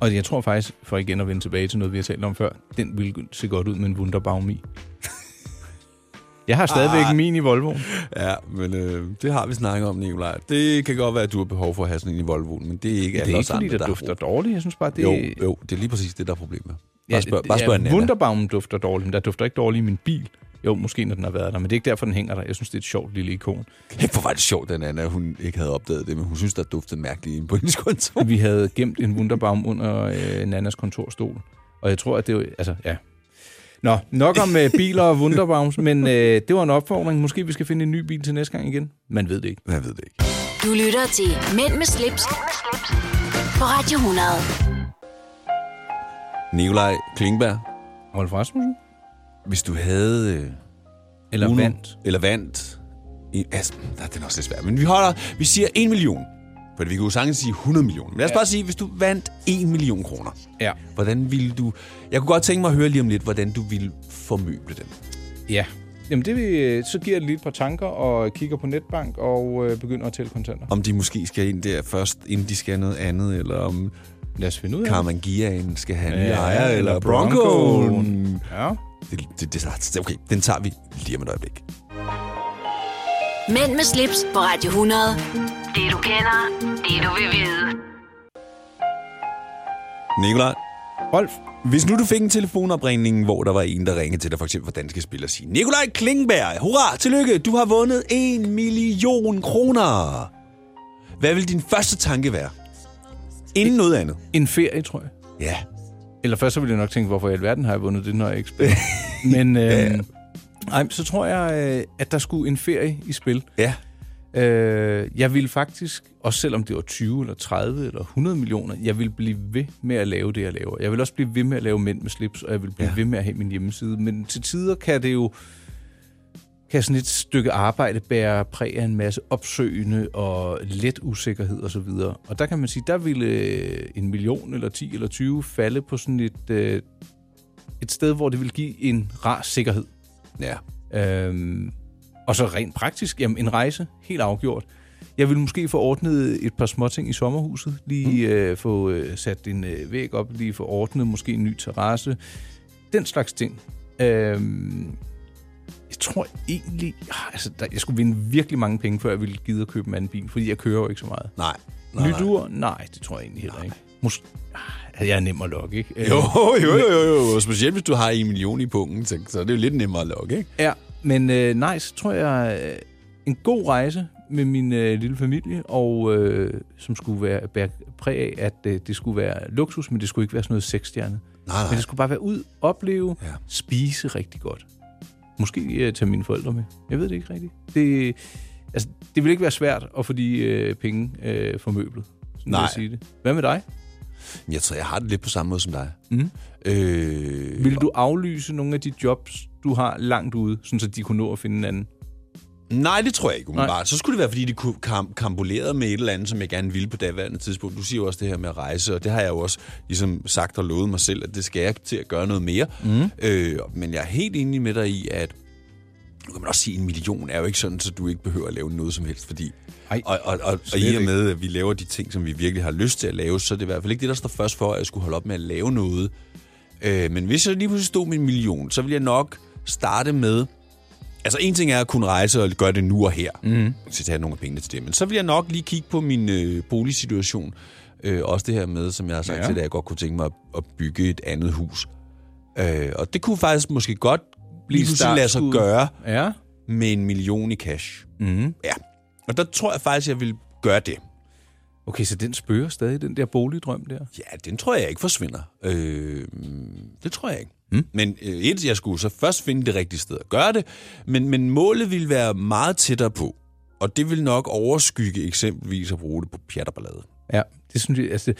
[SPEAKER 3] Og jeg tror faktisk, for igen at vende tilbage til noget, vi har talt om før, den ville se godt ud med en Wunderbaum i. Jeg har stadigvæk
[SPEAKER 2] Ah.
[SPEAKER 3] ah. min i Volvo.
[SPEAKER 2] Ja, men øh, det har vi snakket om, Nicolaj. Det kan godt være, at du har behov for at have sådan en i Volvoen, men det er ikke
[SPEAKER 3] Det
[SPEAKER 2] alle
[SPEAKER 3] er
[SPEAKER 2] os
[SPEAKER 3] ikke, fordi
[SPEAKER 2] andre,
[SPEAKER 3] det
[SPEAKER 2] der
[SPEAKER 3] dufter dårligt. Jeg synes bare, det
[SPEAKER 2] Det... Jo, jo, det er lige præcis det, der er problemet. Bare spørg,
[SPEAKER 3] det-
[SPEAKER 2] bare spørg
[SPEAKER 3] ja,
[SPEAKER 2] Nana.
[SPEAKER 3] Wunderbaumen dufter dårligt, men der dufter ikke dårligt i min bil. Jo, måske når den har været der, men det er ikke derfor, den hænger der. Jeg synes, det er et sjovt lille ikon.
[SPEAKER 2] Kæft, hvor var det sjovt, den Anna, hun ikke havde opdaget det, men hun synes, der duftede mærkeligt inde på hendes kontor.
[SPEAKER 3] Vi havde gemt en wunderbaum under øh, Nannas kontorstol, og jeg tror, at det var... Altså, ja. Nå, nok om øh, biler og wunderbaums, men øh, det var en opfordring. Måske vi skal finde en ny bil til næste gang igen. Man ved det ikke.
[SPEAKER 2] Man ved det ikke.
[SPEAKER 1] Du lytter til Mænd med slips, på Radio 100.
[SPEAKER 2] Nikolaj Klingberg.
[SPEAKER 3] Rolf Rasmussen.
[SPEAKER 2] Hvis du havde... Øh,
[SPEAKER 3] Eller
[SPEAKER 2] Uno-
[SPEAKER 3] vandt.
[SPEAKER 2] Eller vandt. I, altså, der, den er også lidt svær. Men vi holder... Vi siger 1 million. For vi kan jo sagtens sige 100 millioner. Men lad os
[SPEAKER 3] Ja.
[SPEAKER 2] ja. bare sige, hvis du vandt 1 million kroner.
[SPEAKER 3] Ja.
[SPEAKER 2] Hvordan ville du... Jeg kunne godt tænke mig at høre lige om lidt, hvordan du ville formøble den.
[SPEAKER 3] Ja. Jamen, det, vi, øh, så giver jeg det lige et par tanker og kigger på netbank og øh, begynder at tælle kontanter.
[SPEAKER 2] Om de måske skal ind der først, inden de skal noget andet, eller om...
[SPEAKER 3] Lad os finde ud af det.
[SPEAKER 2] Carmen Giaen skal have en ny
[SPEAKER 3] Ja,
[SPEAKER 2] ejer,
[SPEAKER 3] eller
[SPEAKER 2] eller Broncoen.
[SPEAKER 3] Ja.
[SPEAKER 2] Det, det, det, det, okay, den tager vi lige om et øjeblik.
[SPEAKER 1] Mænd med slips på Radio 100. Det du kender, det du vil vide.
[SPEAKER 2] Nikolaj.
[SPEAKER 3] Rolf.
[SPEAKER 2] Hvis nu du fik en telefonopringning, hvor der var en, der ringede til dig, for eksempel fra Danske Spil, og sige, Nikolaj Klingberg, hurra, tillykke, du har vundet 1 million kroner. Hvad vil din første tanke være? Inden noget andet.
[SPEAKER 3] En ferie, tror jeg.
[SPEAKER 2] Ja.
[SPEAKER 3] Eller først så ville jeg nok tænke, hvorfor i alverden har jeg vundet det, når jeg ikke spiller. Men øh, ej, så tror jeg, øh, at der skulle en ferie i spil.
[SPEAKER 2] Ja.
[SPEAKER 3] Øh, jeg ville faktisk, også selvom det var 20 eller 30 eller 100 millioner, jeg ville blive ved med at lave det, jeg laver. Jeg vil også blive ved med at lave mænd med slips, og jeg vil blive ja. ved med at have min hjemmeside. Men til tider kan det jo kan sådan et stykke arbejde bære præg af en masse opsøgende og let usikkerhed og så videre. Og der kan man sige, der ville øh, en million eller 10 eller 20 falde på sådan et, øh, et sted, hvor det ville give en rar sikkerhed.
[SPEAKER 2] Ja.
[SPEAKER 3] Øhm, og så rent praktisk, jamen en rejse, helt afgjort. Jeg ville måske få ordnet et par småting i sommerhuset, lige mm. øh, få øh, sat en øh, væg op, lige få ordnet måske en ny terrasse, den slags ting. Øhm, jeg tror egentlig, ah, altså, der, jeg skulle vinde virkelig mange penge, før jeg ville gide at købe en anden bil, fordi jeg kører jo ikke så meget.
[SPEAKER 2] Nej.
[SPEAKER 3] Nyt ur? Nej, det tror jeg egentlig heller ikke. Mås- ah, jeg er nem at lokke, ikke? Øh,
[SPEAKER 2] Jo, jo, jo, jo, jo. Specielt hvis du har 1 million i pungen, så så er det jo lidt nemmere at lokke, ikke?
[SPEAKER 3] Ja, men øh, nej, så tror jeg, øh, en god rejse med min øh, lille familie, og øh, som skulle være bære præg af, at øh, det skulle være luksus, men det skulle ikke være sådan noget seksstjernet.
[SPEAKER 2] Nej, nej.
[SPEAKER 3] Men det skulle bare være ud, opleve, ja. spise rigtig godt. Måske øh, tage mine forældre med. Jeg ved det ikke rigtigt. Det, altså, det vil ikke være svært at få de øh, penge øh, for møblet. Sådan vil
[SPEAKER 2] Nej.
[SPEAKER 3] Jeg sige det. Hvad med dig?
[SPEAKER 2] Men Jeg tror, jeg har det lidt på samme måde som dig.
[SPEAKER 3] Mhm.
[SPEAKER 2] Øh,
[SPEAKER 3] Vil du aflyse nogle af de jobs, du har langt ude, sådan så de kunne nå at finde en anden?
[SPEAKER 2] Nej, det tror jeg ikke umiddelbart. Nej. Så skulle det være, fordi det kunne kam- kambolere med et eller andet, som jeg gerne ville på daværende tidspunkt. Du siger jo også det her med at rejse, og det har jeg jo også ligesom sagt og lovet mig selv, at det skal jeg til at gøre noget mere.
[SPEAKER 3] Mhm.
[SPEAKER 2] Øh, men jeg er helt enig med dig i, at nu kan man også sige, at en million er jo ikke sådan, så du ikke behøver at lave noget som helst, fordi...
[SPEAKER 3] Ej,
[SPEAKER 2] og, og, og, og
[SPEAKER 3] slet
[SPEAKER 2] i og
[SPEAKER 3] ikke.
[SPEAKER 2] med, at vi laver de ting, som vi virkelig har lyst til at lave, så er det i hvert fald ikke det, der står først for, at jeg skulle holde op med at lave noget. Øh, men hvis jeg lige pludselig stod med en million, så ville jeg nok starte med... Altså, en ting er at kunne rejse og gøre det nu og her.
[SPEAKER 3] Mhm.
[SPEAKER 2] Mm. Så tage nogle af pengene til det. Men så vil jeg nok lige kigge på min øh, boligsituation. Øh, også det her med, som jeg har sagt
[SPEAKER 3] Ja.
[SPEAKER 2] ja. til dig, at jeg godt kunne tænke mig at, at bygge et andet hus. Øh, og det kunne faktisk måske godt
[SPEAKER 3] Blive
[SPEAKER 2] blive pludselig lade sig
[SPEAKER 3] startskuddet.
[SPEAKER 2] gøre
[SPEAKER 3] Ja.
[SPEAKER 2] med en million i cash.
[SPEAKER 3] Mm.
[SPEAKER 2] Ja. Og der tror jeg faktisk, jeg vil gøre det.
[SPEAKER 3] Okay, så den spøger stadig, den der boligdrøm der?
[SPEAKER 2] Ja, den tror jeg ikke forsvinder. Øh, det tror jeg ikke. Mm. Men øh, et, jeg skulle så først finde det rigtige sted at gøre det, men, men målet ville være meget tættere på. Og det vil nok overskygge eksempelvis at bruge det på pjatterballade.
[SPEAKER 3] Ja, det synes jeg, altså...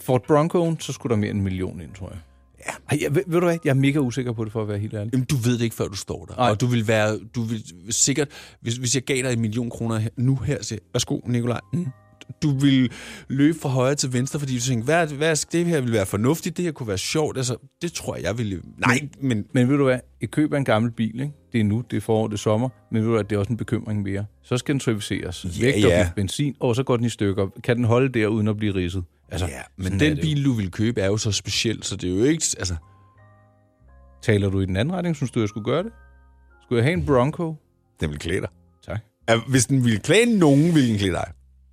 [SPEAKER 3] Ford Broncoen, så skulle der mere end en million ind, tror jeg. Ja. Ej, jeg, ved, ved du hvad, jeg er mega usikker på det, for at være helt ærlig.
[SPEAKER 2] Jamen, du ved det ikke, før du står der.
[SPEAKER 3] Nej.
[SPEAKER 2] Og du vil være, du vil sikkert, hvis, hvis jeg gav dig en million kroner her- nu her, så værsgo, Nikolaj. Mm. Du vil løbe fra højre til venstre, fordi du tænker, hvad, hvad, skal- det her vil være fornuftigt, det her kunne være sjovt. Altså, det tror jeg, jeg ville... Nej, men...
[SPEAKER 3] Men ved du hvad, et køb af en gammel bil, ikke? det er nu, det er forår, det er sommer, men ved du hvad, det er også en bekymring mere. Så skal den serviceres, ja, vægter
[SPEAKER 2] ja.
[SPEAKER 3] ja. benzin, og så går den i stykker. Kan den holde der, uden at blive ridset? Altså, ja,
[SPEAKER 2] Men den bil, du vil købe, er jo så speciel, så det er jo ikke... Altså,
[SPEAKER 3] Taler du i den anden retning? Synes du, jeg skulle gøre det? Skulle jeg have en Bronco?
[SPEAKER 2] den vil klæde dig.
[SPEAKER 3] Tak.
[SPEAKER 2] Ja, Hvis den ville klæde nogen, ville den klæde dig.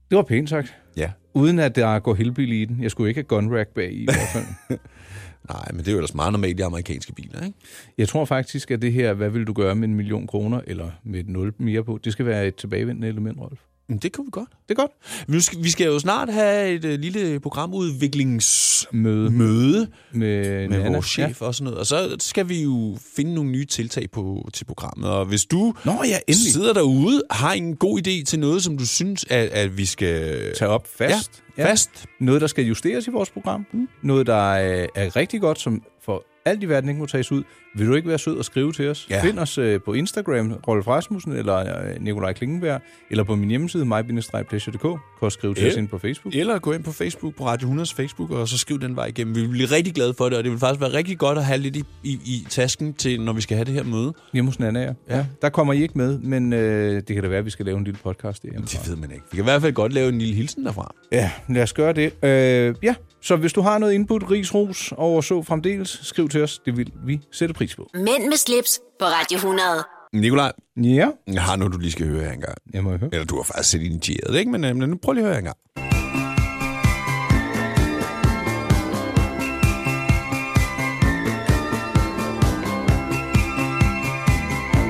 [SPEAKER 3] Det var pænt sagt.
[SPEAKER 2] Ja.
[SPEAKER 3] Uden at der går helbil i den. Jeg skulle ikke have gunrack bag i i hvert fald.
[SPEAKER 2] Nej, men det er jo ellers meget normalt i amerikanske biler, ikke?
[SPEAKER 3] Jeg tror faktisk, at det her, hvad vil du gøre med en million kroner, eller med et nul mere på, det skal være et tilbagevendende element, Rolf.
[SPEAKER 2] Men det kunne vi godt.
[SPEAKER 3] Det er godt.
[SPEAKER 2] Vi skal, vi skal jo snart have et øh, lille programudviklingsmøde
[SPEAKER 3] Møde med,
[SPEAKER 2] med
[SPEAKER 3] Nana.
[SPEAKER 2] vores chef og sådan noget. Og så skal vi jo finde nogle nye tiltag på, til programmet. Og hvis du
[SPEAKER 3] Nå ja, endelig.
[SPEAKER 2] sidder derude, har en god idé til noget, som du synes, at, at vi skal...
[SPEAKER 3] tage op fast.
[SPEAKER 2] Ja, fast.
[SPEAKER 3] Noget, der skal justeres i vores program. Mm. Noget, der øh, er rigtig godt, som for alt i verden ikke må tages ud. Vil du ikke være sød og skrive til os?
[SPEAKER 2] Ja.
[SPEAKER 3] Find os øh, på Instagram, Rolf Rasmussen, eller øh, Nikolaj Klingenberg, eller på min hjemmeside, my-pleasure.dk. Kan også skrive til
[SPEAKER 2] Ja.
[SPEAKER 3] os ind på Facebook.
[SPEAKER 2] Eller gå ind på Facebook, på Radio 100's Facebook, og så skriv den vej igennem. Vi vil blive rigtig glade for det, og det vil faktisk være rigtig godt at have lidt i, i, i tasken til, når vi skal have det her møde.
[SPEAKER 3] Hjemme hos Nana, ja. ja. Der kommer I ikke med, men øh, det kan da være, at vi skal lave en lille podcast derhjemme.
[SPEAKER 2] Det ved man ikke. Vi kan i hvert fald godt lave en lille hilsen derfra.
[SPEAKER 3] Ja, lad os gøre det. Øh, ja, så hvis du har noget input, ris, ros og så fremdeles, skriv til os. Det vil vi sætte pris på.
[SPEAKER 1] Mænd med slips på Radio 100.
[SPEAKER 2] Nikolaj,
[SPEAKER 3] Ja,
[SPEAKER 2] jeg har noget, du lige skal høre her engang.
[SPEAKER 3] jeg må høre.
[SPEAKER 2] Eller du har faktisk selv initieret det, ikke? Men, øh, men nu prøv lige at høre her engang.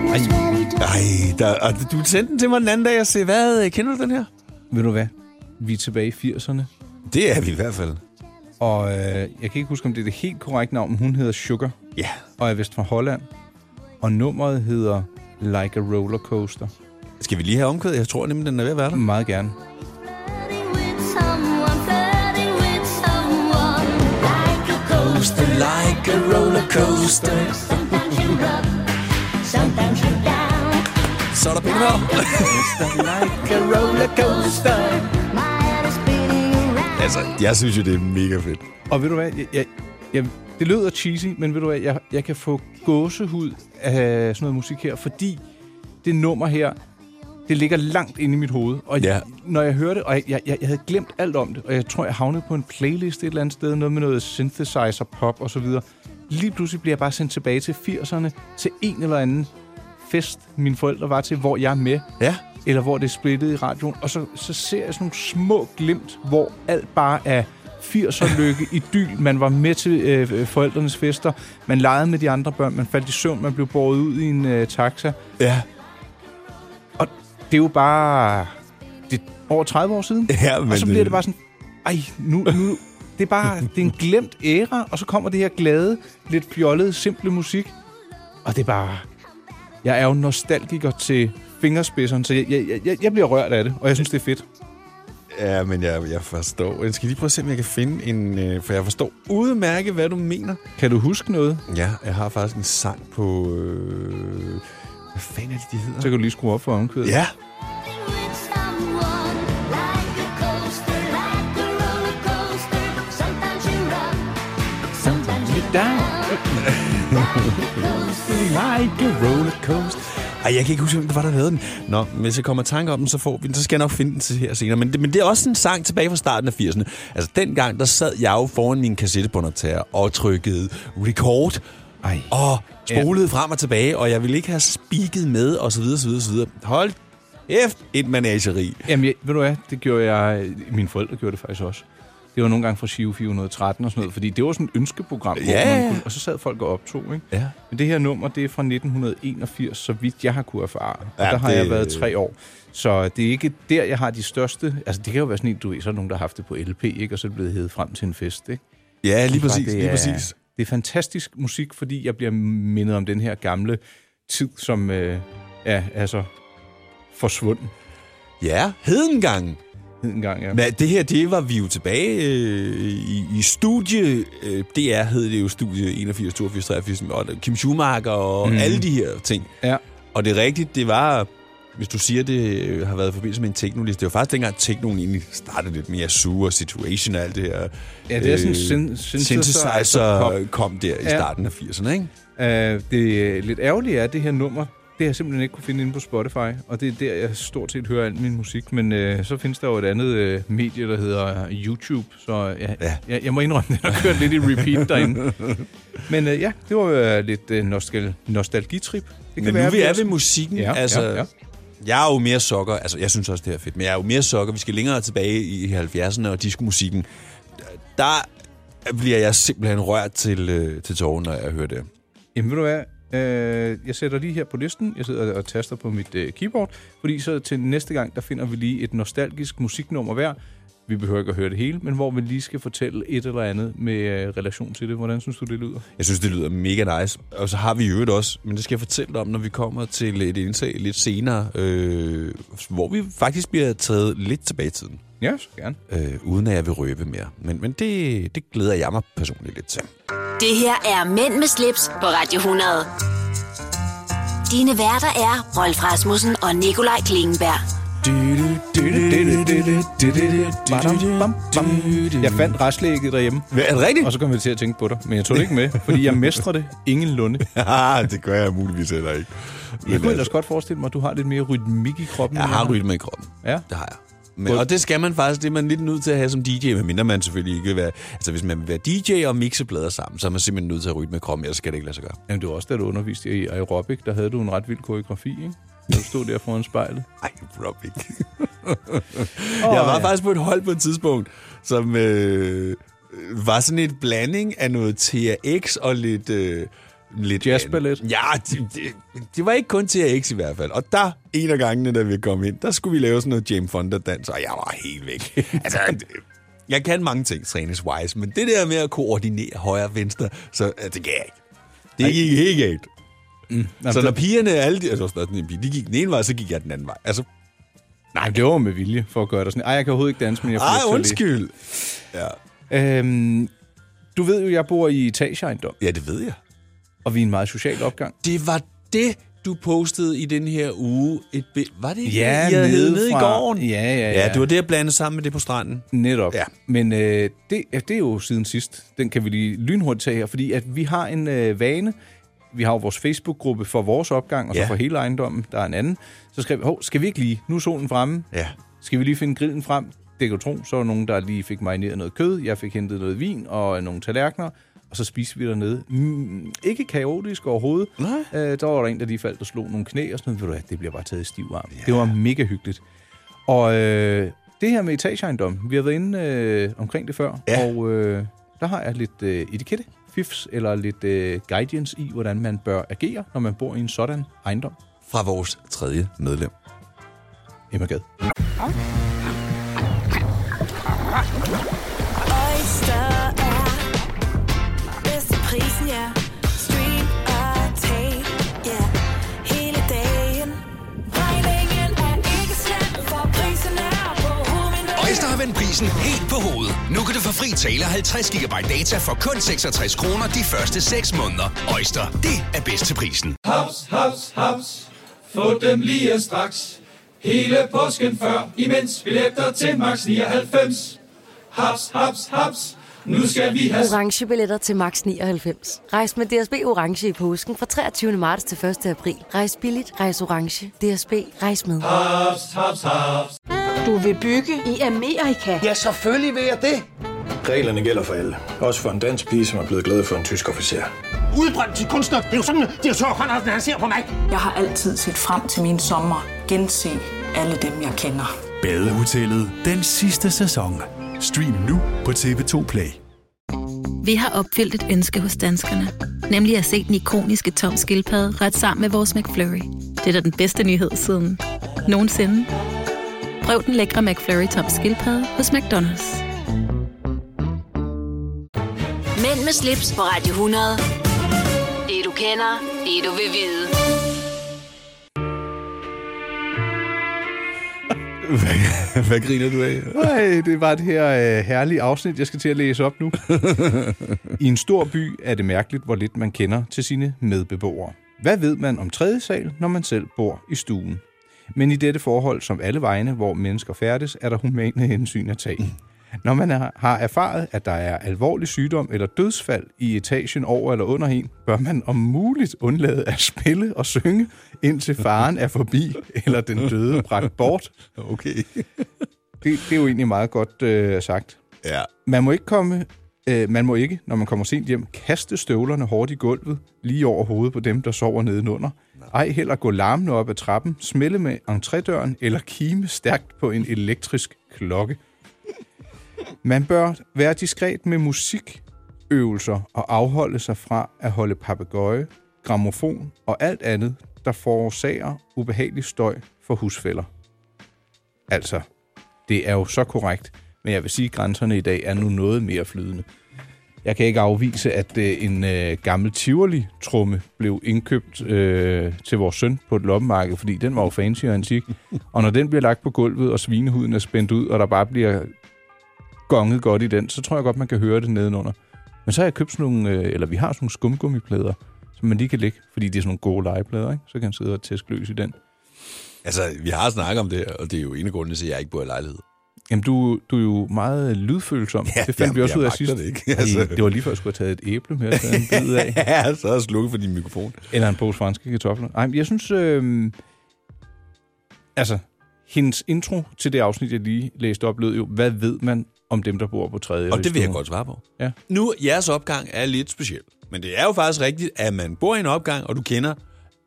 [SPEAKER 2] Ej, der, og du sendte den til mig den anden dag, jeg sagde, hvad, øh, kender du den her?
[SPEAKER 3] Ved du hvad? Vi er tilbage i 80'erne,
[SPEAKER 2] Det er vi i hvert fald.
[SPEAKER 3] og øh, jeg kan ikke huske, om det er det helt korrekte navn, men hun hedder Sugar,
[SPEAKER 2] Ja.
[SPEAKER 3] og er vist fra Holland. Og nummeret hedder Like a Roller Coaster.
[SPEAKER 2] Skal vi lige have omkødet? Jeg tror nemlig, den er ved at være der.
[SPEAKER 3] Meget gerne.
[SPEAKER 2] Like a roller coaster. Så er der penge her.
[SPEAKER 3] Like a roller coaster.
[SPEAKER 2] Altså, jeg synes jo, det er mega fedt.
[SPEAKER 3] Og ved du hvad? Jeg, jeg, jeg, det lyder cheesy, men ved du hvad? Jeg, jeg kan få gåsehud af sådan noget musik her, fordi det nummer her, det ligger langt inde i mit hoved. Og
[SPEAKER 2] Ja.
[SPEAKER 3] ja. når jeg hørte det, og jeg, jeg, jeg havde glemt alt om det, og jeg tror, jeg havnede på en playlist et eller andet sted, noget med noget synthesizer, pop og så videre. Lige pludselig bliver jeg bare sendt tilbage til 80'erne, til en eller anden fest, mine forældre var til, hvor jeg er med,
[SPEAKER 2] Ja.
[SPEAKER 3] eller hvor det er splittet i radioen, og så, så ser jeg sådan nogle små glimt, hvor alt bare er 80'er lykke, idyl, man var med til øh, øh, forældrenes fester, man legede med de andre børn, man faldt i søvn, man blev båret ud i en øh, taxa.
[SPEAKER 2] Ja.
[SPEAKER 3] Og det er jo bare det, er over 30 år siden.
[SPEAKER 2] Ja, men
[SPEAKER 3] og så bliver det bare sådan, ej, nu, nu, det er bare, det er en glemt æra, og så kommer det her glade, lidt fjollede, simple musik, og det er bare, jeg er jo nostalgiker til fingerspidserne, så jeg, jeg, jeg, jeg bliver rørt af det, og jeg synes, det er fedt.
[SPEAKER 2] Ja, men jeg, jeg forstår. Jeg skal lige prøve at se, om jeg kan finde en... øh, For jeg forstår udmærket, hvad du mener.
[SPEAKER 3] Kan du huske noget?
[SPEAKER 2] Ja, jeg har faktisk en sang på... Øh, hvad fanden er det, de hedder?
[SPEAKER 3] Så kan du lige skrue op for omkvædet.
[SPEAKER 2] Ja. Like a rollercoaster. Ej, jeg kan ikke huske, hvem det var, der lavede den. Nå, men hvis jeg kommer i tanke om den, så, får vi den. så skal jeg nok finde den til her senere. Men det, men det er også en sang tilbage fra starten af 80'erne. Altså, dengang, der sad jeg jo foran min kassettebåndoptager og trykkede record.
[SPEAKER 3] Ej.
[SPEAKER 2] Og spolede frem og tilbage, og jeg ville ikke have spiket med, og så videre, så videre, så videre. Hold kæft, et manageri.
[SPEAKER 3] Jamen, jeg, ved du hvad, det gjorde jeg, mine forældre gjorde det faktisk også. Det var nogle gange fra Shio 413 og sådan noget, fordi det var sådan et ønskeprogram, hvor
[SPEAKER 2] Ja, ja.
[SPEAKER 3] man kunne, og så sad folk og optog, ikke?
[SPEAKER 2] Ja.
[SPEAKER 3] Men det her nummer, det er fra 1981, så vidt jeg har kunne erfare. Ja,
[SPEAKER 2] Ja,
[SPEAKER 3] der har
[SPEAKER 2] det-
[SPEAKER 3] det... jeg været tre år. Så det er ikke der, jeg har de største... Altså, det kan jo være sådan en, du ved, så er der nogen, der har haft det på LP, ikke? Og så er det blevet hævet frem til en fest, ikke?
[SPEAKER 2] Ja, lige
[SPEAKER 3] Bare,
[SPEAKER 2] præcis,
[SPEAKER 3] det
[SPEAKER 2] lige
[SPEAKER 3] er-
[SPEAKER 2] præcis.
[SPEAKER 3] Det er fantastisk musik, fordi jeg bliver mindet om den her gamle tid, som øh, er altså forsvundet
[SPEAKER 2] Ja, hedengangen.
[SPEAKER 3] en gang. Ja.
[SPEAKER 2] Men det her, det var vi jo tilbage øh, i, i studie. Øh, DR hed det jo studie 81, 82, 83, og Kim Schumacher og
[SPEAKER 3] Mhm.
[SPEAKER 2] mm. alle de her ting.
[SPEAKER 3] ja.
[SPEAKER 2] Og det er rigtigt, det var, hvis du siger, det øh, har været i forbindelse med en teknolist, det var faktisk dengang teknoen egentlig startede lidt mere Yazoo og Situation og alt det her. øh,
[SPEAKER 3] Ja, det er sådan syn- synthesizer-
[SPEAKER 2] synthesizer kom.
[SPEAKER 3] kom.
[SPEAKER 2] kom der i
[SPEAKER 3] Ja.
[SPEAKER 2] starten af 80'erne, ikke?
[SPEAKER 3] Øh, det øh, lidt ærgerlige er, at det her nummer, det har jeg simpelthen ikke kunne finde inde på Spotify, og det er der, jeg stort set hører al min musik, men øh, så findes der jo et andet øh, medie, der hedder øh, YouTube, så ja,
[SPEAKER 2] Ja.
[SPEAKER 3] ja. Jeg, jeg må indrømme, den har kørt lidt i repeat derinde. Men øh, ja, det var jo øh, lidt øh, nostal- nostalgitrip. Det kan
[SPEAKER 2] Men nu vi er
[SPEAKER 3] også-
[SPEAKER 2] ved musikken,
[SPEAKER 3] Ja,
[SPEAKER 2] altså...
[SPEAKER 3] ja, ja.
[SPEAKER 2] Jeg er jo mere sokker, altså jeg synes også, det er fedt, men jeg er jo mere sokker. Vi skal længere tilbage i 70'erne og diskomusikken. Der bliver jeg simpelthen rørt til, øh, til tårer, når jeg hører det.
[SPEAKER 3] Jamen ved du hvad, øh, jeg sætter lige her på listen, jeg sidder og taster på mit øh, keyboard, fordi så til næste gang, der finder vi lige et nostalgisk musiknummer hver. Vi behøver ikke at høre det hele, men hvor vi lige skal fortælle et eller andet med øh, relation til det. Hvordan synes du, det lyder?
[SPEAKER 2] Jeg synes, det lyder mega nice. Og så har vi i øvrigt også, men det skal jeg fortælle dig om, når vi kommer til et indslag lidt senere, øh, hvor vi faktisk bliver taget lidt tilbage i tiden.
[SPEAKER 3] Ja, så gerne.
[SPEAKER 2] Øh, uden at jeg vil røbe mere. Men, men det, det glæder jeg mig personligt lidt til.
[SPEAKER 1] Det her er Mænd med slips på Radio 100. Dine værter er Rolf Rasmussen og Nikolaj Klingenberg.
[SPEAKER 3] Jeg fandt restlægget derhjemme.
[SPEAKER 2] Er det rigtigt?
[SPEAKER 3] Og så kom vi til at tænke på dig. Men jeg tog det ikke med, fordi jeg mestrer det ingen lunde.
[SPEAKER 2] Ja, det gør jeg muligvis heller ikke. altså,
[SPEAKER 3] Jeg kunne ellers godt forestille mig, at du har lidt mere rytmik i kroppen.
[SPEAKER 2] Jeg
[SPEAKER 3] end
[SPEAKER 2] har rytme i kroppen.
[SPEAKER 3] Ja.
[SPEAKER 2] Det har jeg. Men, og det skal man faktisk, det er man lidt nødt til at have som DJ, medmindre man selvfølgelig ikke vil være... Altså, hvis man vil være DJ og mixe plader sammen, så er man simpelthen nødt til at rytme med kroppen, ellers skal det ikke lade sig gøre.
[SPEAKER 3] Jamen, det var også, da du underviste i aerobic, der havde du en ret vild koreografi, ikke? Når du stod der foran spejlet.
[SPEAKER 2] Ej, aerobic. jeg var faktisk på et hold på et tidspunkt, som øh, var sådan et blanding af noget TRX og lidt... Øh, lidt Jazzballet? Ja, det, det, det var ikke kun TRX i hvert fald. Og der, en af gangene, da vi kom ind, der skulle vi lave sådan noget James Fonda-dans, og jeg var helt væk. altså, det- jeg kan mange ting træningswise, men det der med at koordinere højre og venstre, så øh, det kan jeg ikke. Det gik helt galt. Mm, så når pigerne, alle de, altså, sådan en pige, de gik den ene vej, så gik jeg den anden vej. Altså,
[SPEAKER 3] Nej, det var med vilje for at gøre dig sådan. Ej, jeg kan overhovedet ikke danse, men jeg får
[SPEAKER 2] Ej,
[SPEAKER 3] lyst til at
[SPEAKER 2] undskyld. Ja.
[SPEAKER 3] lige. Øhm, du ved jo, jeg bor i etageejendom.
[SPEAKER 2] Ja, det ved jeg.
[SPEAKER 3] Og vi er en meget social opgang.
[SPEAKER 2] Det var det, du postede i den her uge. Et bi- var det ikke
[SPEAKER 3] Ja,
[SPEAKER 2] det, I havde
[SPEAKER 3] nede
[SPEAKER 2] hævet nede i
[SPEAKER 3] fra-
[SPEAKER 2] gården?
[SPEAKER 3] Ja, ja,
[SPEAKER 2] ja.
[SPEAKER 3] ja.
[SPEAKER 2] det var det, jeg blandede sammen med det på stranden.
[SPEAKER 3] Netop. Ja. Men øh, det, ja, det er jo siden sidst. Den kan vi lige lynhurtigt tage her, fordi at vi har en øh, vane. Vi har jo vores Facebook-gruppe for vores opgang, og ja.
[SPEAKER 2] Ja.
[SPEAKER 3] så for hele ejendommen. Der er en anden. Så skrev vi, hov, skal vi ikke lige? Nu er solen fremme.
[SPEAKER 2] Ja.
[SPEAKER 3] Skal vi lige finde grillen frem? Det kan du tro. Så var der nogen, der lige fik marineret noget kød. Jeg fik hentet noget vin og øh, nogle tallerkener. Og så spiste vi dernede. Mm, ikke kaotisk overhovedet. Nej. Øh, der var der en, der lige faldt og slog nogle knæ og sådan noget. Ved du hvad, det bliver bare taget i stiv arm. Ja. Det var mega hyggeligt. Og øh, det her med etageejendom, vi har været inde øh, omkring det før, ja. og øh, der har jeg lidt øh, etikette, fifs eller lidt øh, guidance i, hvordan man bør agere, når man bor i en sådan ejendom.
[SPEAKER 2] Fra vores tredje medlem.
[SPEAKER 3] Emma Gad.
[SPEAKER 5] Oyster er bedst til prisen, ja. Stream og tag, ja. Hele dagen. Regningen er ikke slem, for prisen er på hovedet.
[SPEAKER 6] Øjster har vendt prisen helt på hovedet. Nu kan du få fri tale og 50 GB data for kun 66 kroner de første 6 måneder. Øjster, det er bedst til prisen.
[SPEAKER 13] Haps, haps, haps. Få dem lige straks. Hele påsken før, imens billetter til max 99. Haps, haps, haps. Nu skal vi have...
[SPEAKER 14] orange billetter til max 99. Rejs med DSB orange i påsken fra 23. marts til 1. april. Rejs billigt, rejs orange. DSB rejs med.
[SPEAKER 13] Haps, haps, haps.
[SPEAKER 15] Du vil bygge i Amerika? Ja, selvfølgelig vil jeg det.
[SPEAKER 11] Reglerne gælder for alle. Også for en dansk pige, som er blevet glad for en tysk officer.
[SPEAKER 12] Udbrøndt til kunstner. Det er jo sådan, at de har tørt, han, han ser på mig.
[SPEAKER 10] Jeg har altid set frem til min sommer. Gense alle dem, jeg kender.
[SPEAKER 16] Badehotellet den sidste sæson. Stream nu på TV2 Play.
[SPEAKER 17] Vi har opfyldt et ønske hos danskerne. Nemlig at se den ikoniske tom skildpadde ret sammen med vores McFlurry. Det er da den bedste nyhed siden nogensinde. Prøv den lækre McFlurry tom skildpadde hos McDonald's.
[SPEAKER 1] Mænd med slips på Radio 100. Det du kender, det du vil vide.
[SPEAKER 2] Hvad, hvad griner du af?
[SPEAKER 3] Nej, det var det her øh, herlige afsnit, jeg skal til at læse op nu. I en stor by er det mærkeligt, hvor lidt man kender til sine medbeboere. Hvad ved man om tredje sal, når man selv bor i stuen? Men i dette forhold, som alle vegne, hvor mennesker færdes, er der humane hensyn at tage. Når man er- har erfaret, at der er alvorlig sygdom eller dødsfald i etagen over eller under en, bør man om muligt undlade at spille og synge, indtil faren er forbi eller den døde bragt bort.
[SPEAKER 2] Okay.
[SPEAKER 3] Det, det er jo egentlig meget godt øh, sagt.
[SPEAKER 2] Ja.
[SPEAKER 3] Man må ikke komme, øh, man må ikke, når man kommer sent hjem, kaste støvlerne hårdt i gulvet, lige over hovedet på dem, der sover nedenunder. Ej heller gå larmende op ad trappen, smelle med entrédøren eller kime stærkt på en elektrisk klokke. Man bør være diskret med musik, øvelser og afholde sig fra at holde papegøje, gramofon og alt andet, der forårsager ubehagelig støj for husfælder. Altså, det er jo så korrekt, men jeg vil sige, at grænserne i dag er nu noget mere flydende. Jeg kan ikke afvise, at øh, en øh, gammel Tivoli-trumme blev indkøbt øh, til vores søn på et loppemarked, fordi den var jo fancy og antik. Og når den bliver lagt på gulvet, og svinehuden er spændt ud, og der bare bliver gonget godt i den, så tror jeg godt, man kan høre det nedenunder. Men så har jeg købt sådan nogle, øh, eller vi har sådan nogle skumgummiplader, som man lige kan lægge, fordi det er sådan nogle gode legeplader, ikke? Så kan han sidde og tæske løs i den.
[SPEAKER 2] Altså, vi har snakket om det, her, og det er jo en af grundene til, at jeg ikke bor i lejlighed.
[SPEAKER 3] Jamen, du, du er jo meget lydfølsom. Ja, det fandt
[SPEAKER 2] jamen,
[SPEAKER 3] vi også
[SPEAKER 2] jeg
[SPEAKER 3] ud af
[SPEAKER 2] magter
[SPEAKER 3] sidst.
[SPEAKER 2] det ikke, altså.
[SPEAKER 3] altså. det var lige før, jeg skulle have taget et æble med at tage en bid af.
[SPEAKER 2] ja, så er jeg slukket for din mikrofon.
[SPEAKER 3] Eller en pose franske kartofler. Ej, men jeg synes... Øh, altså, hendes intro til det afsnit, jeg lige læste op, lød jo, hvad ved man om dem, der bor på tredje?
[SPEAKER 2] Og det vil jeg
[SPEAKER 3] rigsstue?"
[SPEAKER 2] godt svare på.
[SPEAKER 3] Ja.
[SPEAKER 2] Nu, jeres opgang er lidt speciel. Men det er jo faktisk rigtigt, at man bor i en opgang, og du kender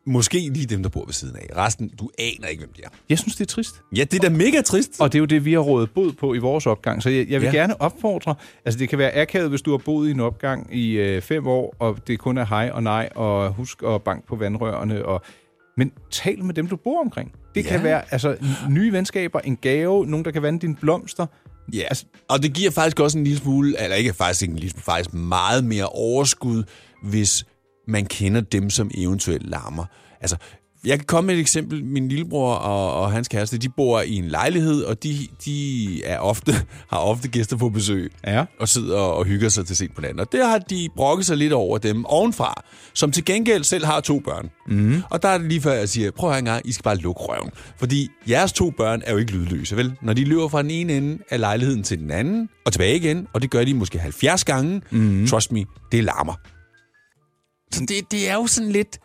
[SPEAKER 2] måske lige dem, der bor ved siden af. Resten, du aner ikke, hvem de er.
[SPEAKER 3] Jeg synes, det er trist.
[SPEAKER 2] Ja, det er da mega trist.
[SPEAKER 3] Og det er jo det, vi har rådet bod på i vores opgang. Så jeg, jeg vil
[SPEAKER 2] Ja.
[SPEAKER 3] ja. gerne opfordre... Altså, det kan være akavet, hvis du har boet i en opgang i øh, fem år, og det kun er hej og nej, og husk at banke på vandrørene. Og, men tal med dem, du bor omkring. Det
[SPEAKER 2] Ja.
[SPEAKER 3] kan være altså, nye venskaber, en gave, nogen, der kan vande dine blomster.
[SPEAKER 2] Ja, altså, og det giver faktisk også en lille smule, eller ikke faktisk ikke en lille smule, faktisk meget mere overskud, hvis man kender dem, som eventuelt larmer. Altså, jeg kan komme med et eksempel. Min lillebror og, og hans kæreste, de bor i en lejlighed, og de, de er ofte, har ofte gæster på besøg.
[SPEAKER 3] Ja.
[SPEAKER 2] Og sidder og hygger sig til sent på natten. Og der har de brokket sig lidt over dem ovenfra, som til gengæld selv har to børn. Mm. Og der er det lige før, jeg siger, prøv at høre en gang, I skal bare lukke røven. Fordi jeres to børn er jo ikke lydløse, vel? Når de løber fra den ene ende af lejligheden til den anden, og tilbage igen, og det gør de måske 70 gange, mm. trust me, det larmer. Så det, det er jo sådan lidt...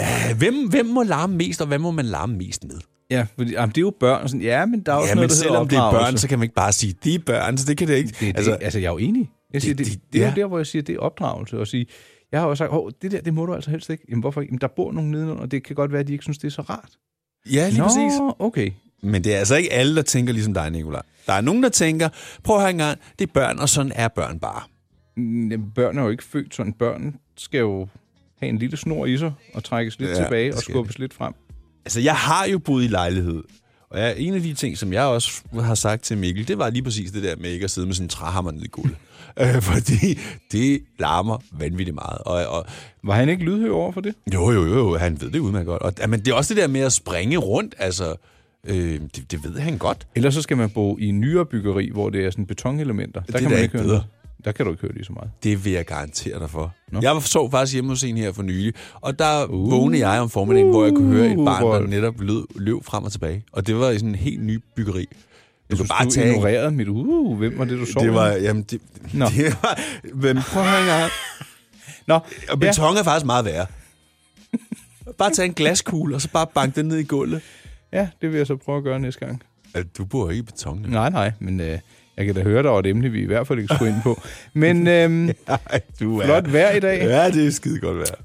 [SPEAKER 2] Øh, hvem, hvem må larme mest, og hvad må man larme mest med?
[SPEAKER 3] Ja, fordi, jamen, det er jo børn. og Sådan, ja, men der er også
[SPEAKER 2] Ja, men
[SPEAKER 3] noget, der hedder
[SPEAKER 2] selvom det er børn,
[SPEAKER 3] opdragelse.
[SPEAKER 2] så kan man ikke bare sige, de er børn, så det kan det ikke. Det,
[SPEAKER 3] altså, altså, jeg er jo enig. Jeg siger, det, det, det, det er
[SPEAKER 2] ja.
[SPEAKER 3] jo der, hvor jeg siger, det er opdragelse. Og sige, jeg har jo sagt, "Hov, det der, det må du altså helst ikke. Jamen, hvorfor ikke? Jamen, der bor nogen nedenunder, og det kan godt være, at de ikke synes, det er så rart.
[SPEAKER 2] Ja, lige
[SPEAKER 3] Nå,
[SPEAKER 2] præcis.
[SPEAKER 3] okay.
[SPEAKER 2] Men det er altså ikke alle, der tænker ligesom dig, Nicolaj. Der er nogen, der tænker, prøv at høre en gang, det er børn, og sådan er børn bare.
[SPEAKER 3] Mm, Børn er jo ikke født sådan. Børn skal jo have en lille snor i sig, og trækkes lidt
[SPEAKER 2] Ja,
[SPEAKER 3] ja, tilbage,
[SPEAKER 2] det
[SPEAKER 3] og
[SPEAKER 2] skal
[SPEAKER 3] skubbes lidt frem.
[SPEAKER 2] Altså, jeg har jo boet i lejlighed. Og jeg, en af de ting, som jeg også har sagt til Mikkel, det var lige præcis det der med ikke at sidde med sådan en træhammer ned i gulvet. øh, fordi det larmer vanvittigt meget. Og, og,
[SPEAKER 3] var han ikke lydhør over for det?
[SPEAKER 2] Jo, jo, jo, jo, han ved det udmærket godt. Og, men det er også det der med at springe rundt, altså, øh, det, det ved han godt.
[SPEAKER 3] Ellers så skal man bo i nyere byggeri, hvor det er sådan betonelementer. Der
[SPEAKER 2] er
[SPEAKER 3] kan
[SPEAKER 2] da ikke
[SPEAKER 3] man ikke høre
[SPEAKER 2] bedre.
[SPEAKER 3] noget. Der kan du ikke høre lige så meget.
[SPEAKER 2] Det vil jeg garantere dig for. Nå. Jeg sov faktisk hjemme hos en her for nylig, og der uh, vågnede jeg om formiddagen, uh, hvor jeg kunne høre et barn, der
[SPEAKER 3] Rolf.
[SPEAKER 2] netop lød, løb frem og tilbage. Og det var i sådan en helt ny byggeri. Du kan
[SPEAKER 3] Du bare ignorerede mit, uh, hvem var det, du sov
[SPEAKER 2] Det var,
[SPEAKER 3] med?
[SPEAKER 2] jamen, det,
[SPEAKER 3] Nå.
[SPEAKER 2] det var, men prøv at høre en gang.
[SPEAKER 3] Nå,
[SPEAKER 2] og beton er faktisk meget værre. Bare tage en glaskugle, og så bare banke den ned i gulvet.
[SPEAKER 3] Ja, det vil jeg så prøve at gøre næste gang.
[SPEAKER 2] Du bor ikke i beton. jo.
[SPEAKER 3] Nej, nej, men øh, jeg kan da høre, der var et emne, vi i hvert fald ikke skulle ind på. Men øhm,
[SPEAKER 2] du er-
[SPEAKER 3] flot vejr i dag.
[SPEAKER 2] Ja, det er skide godt vejr.
[SPEAKER 3] Og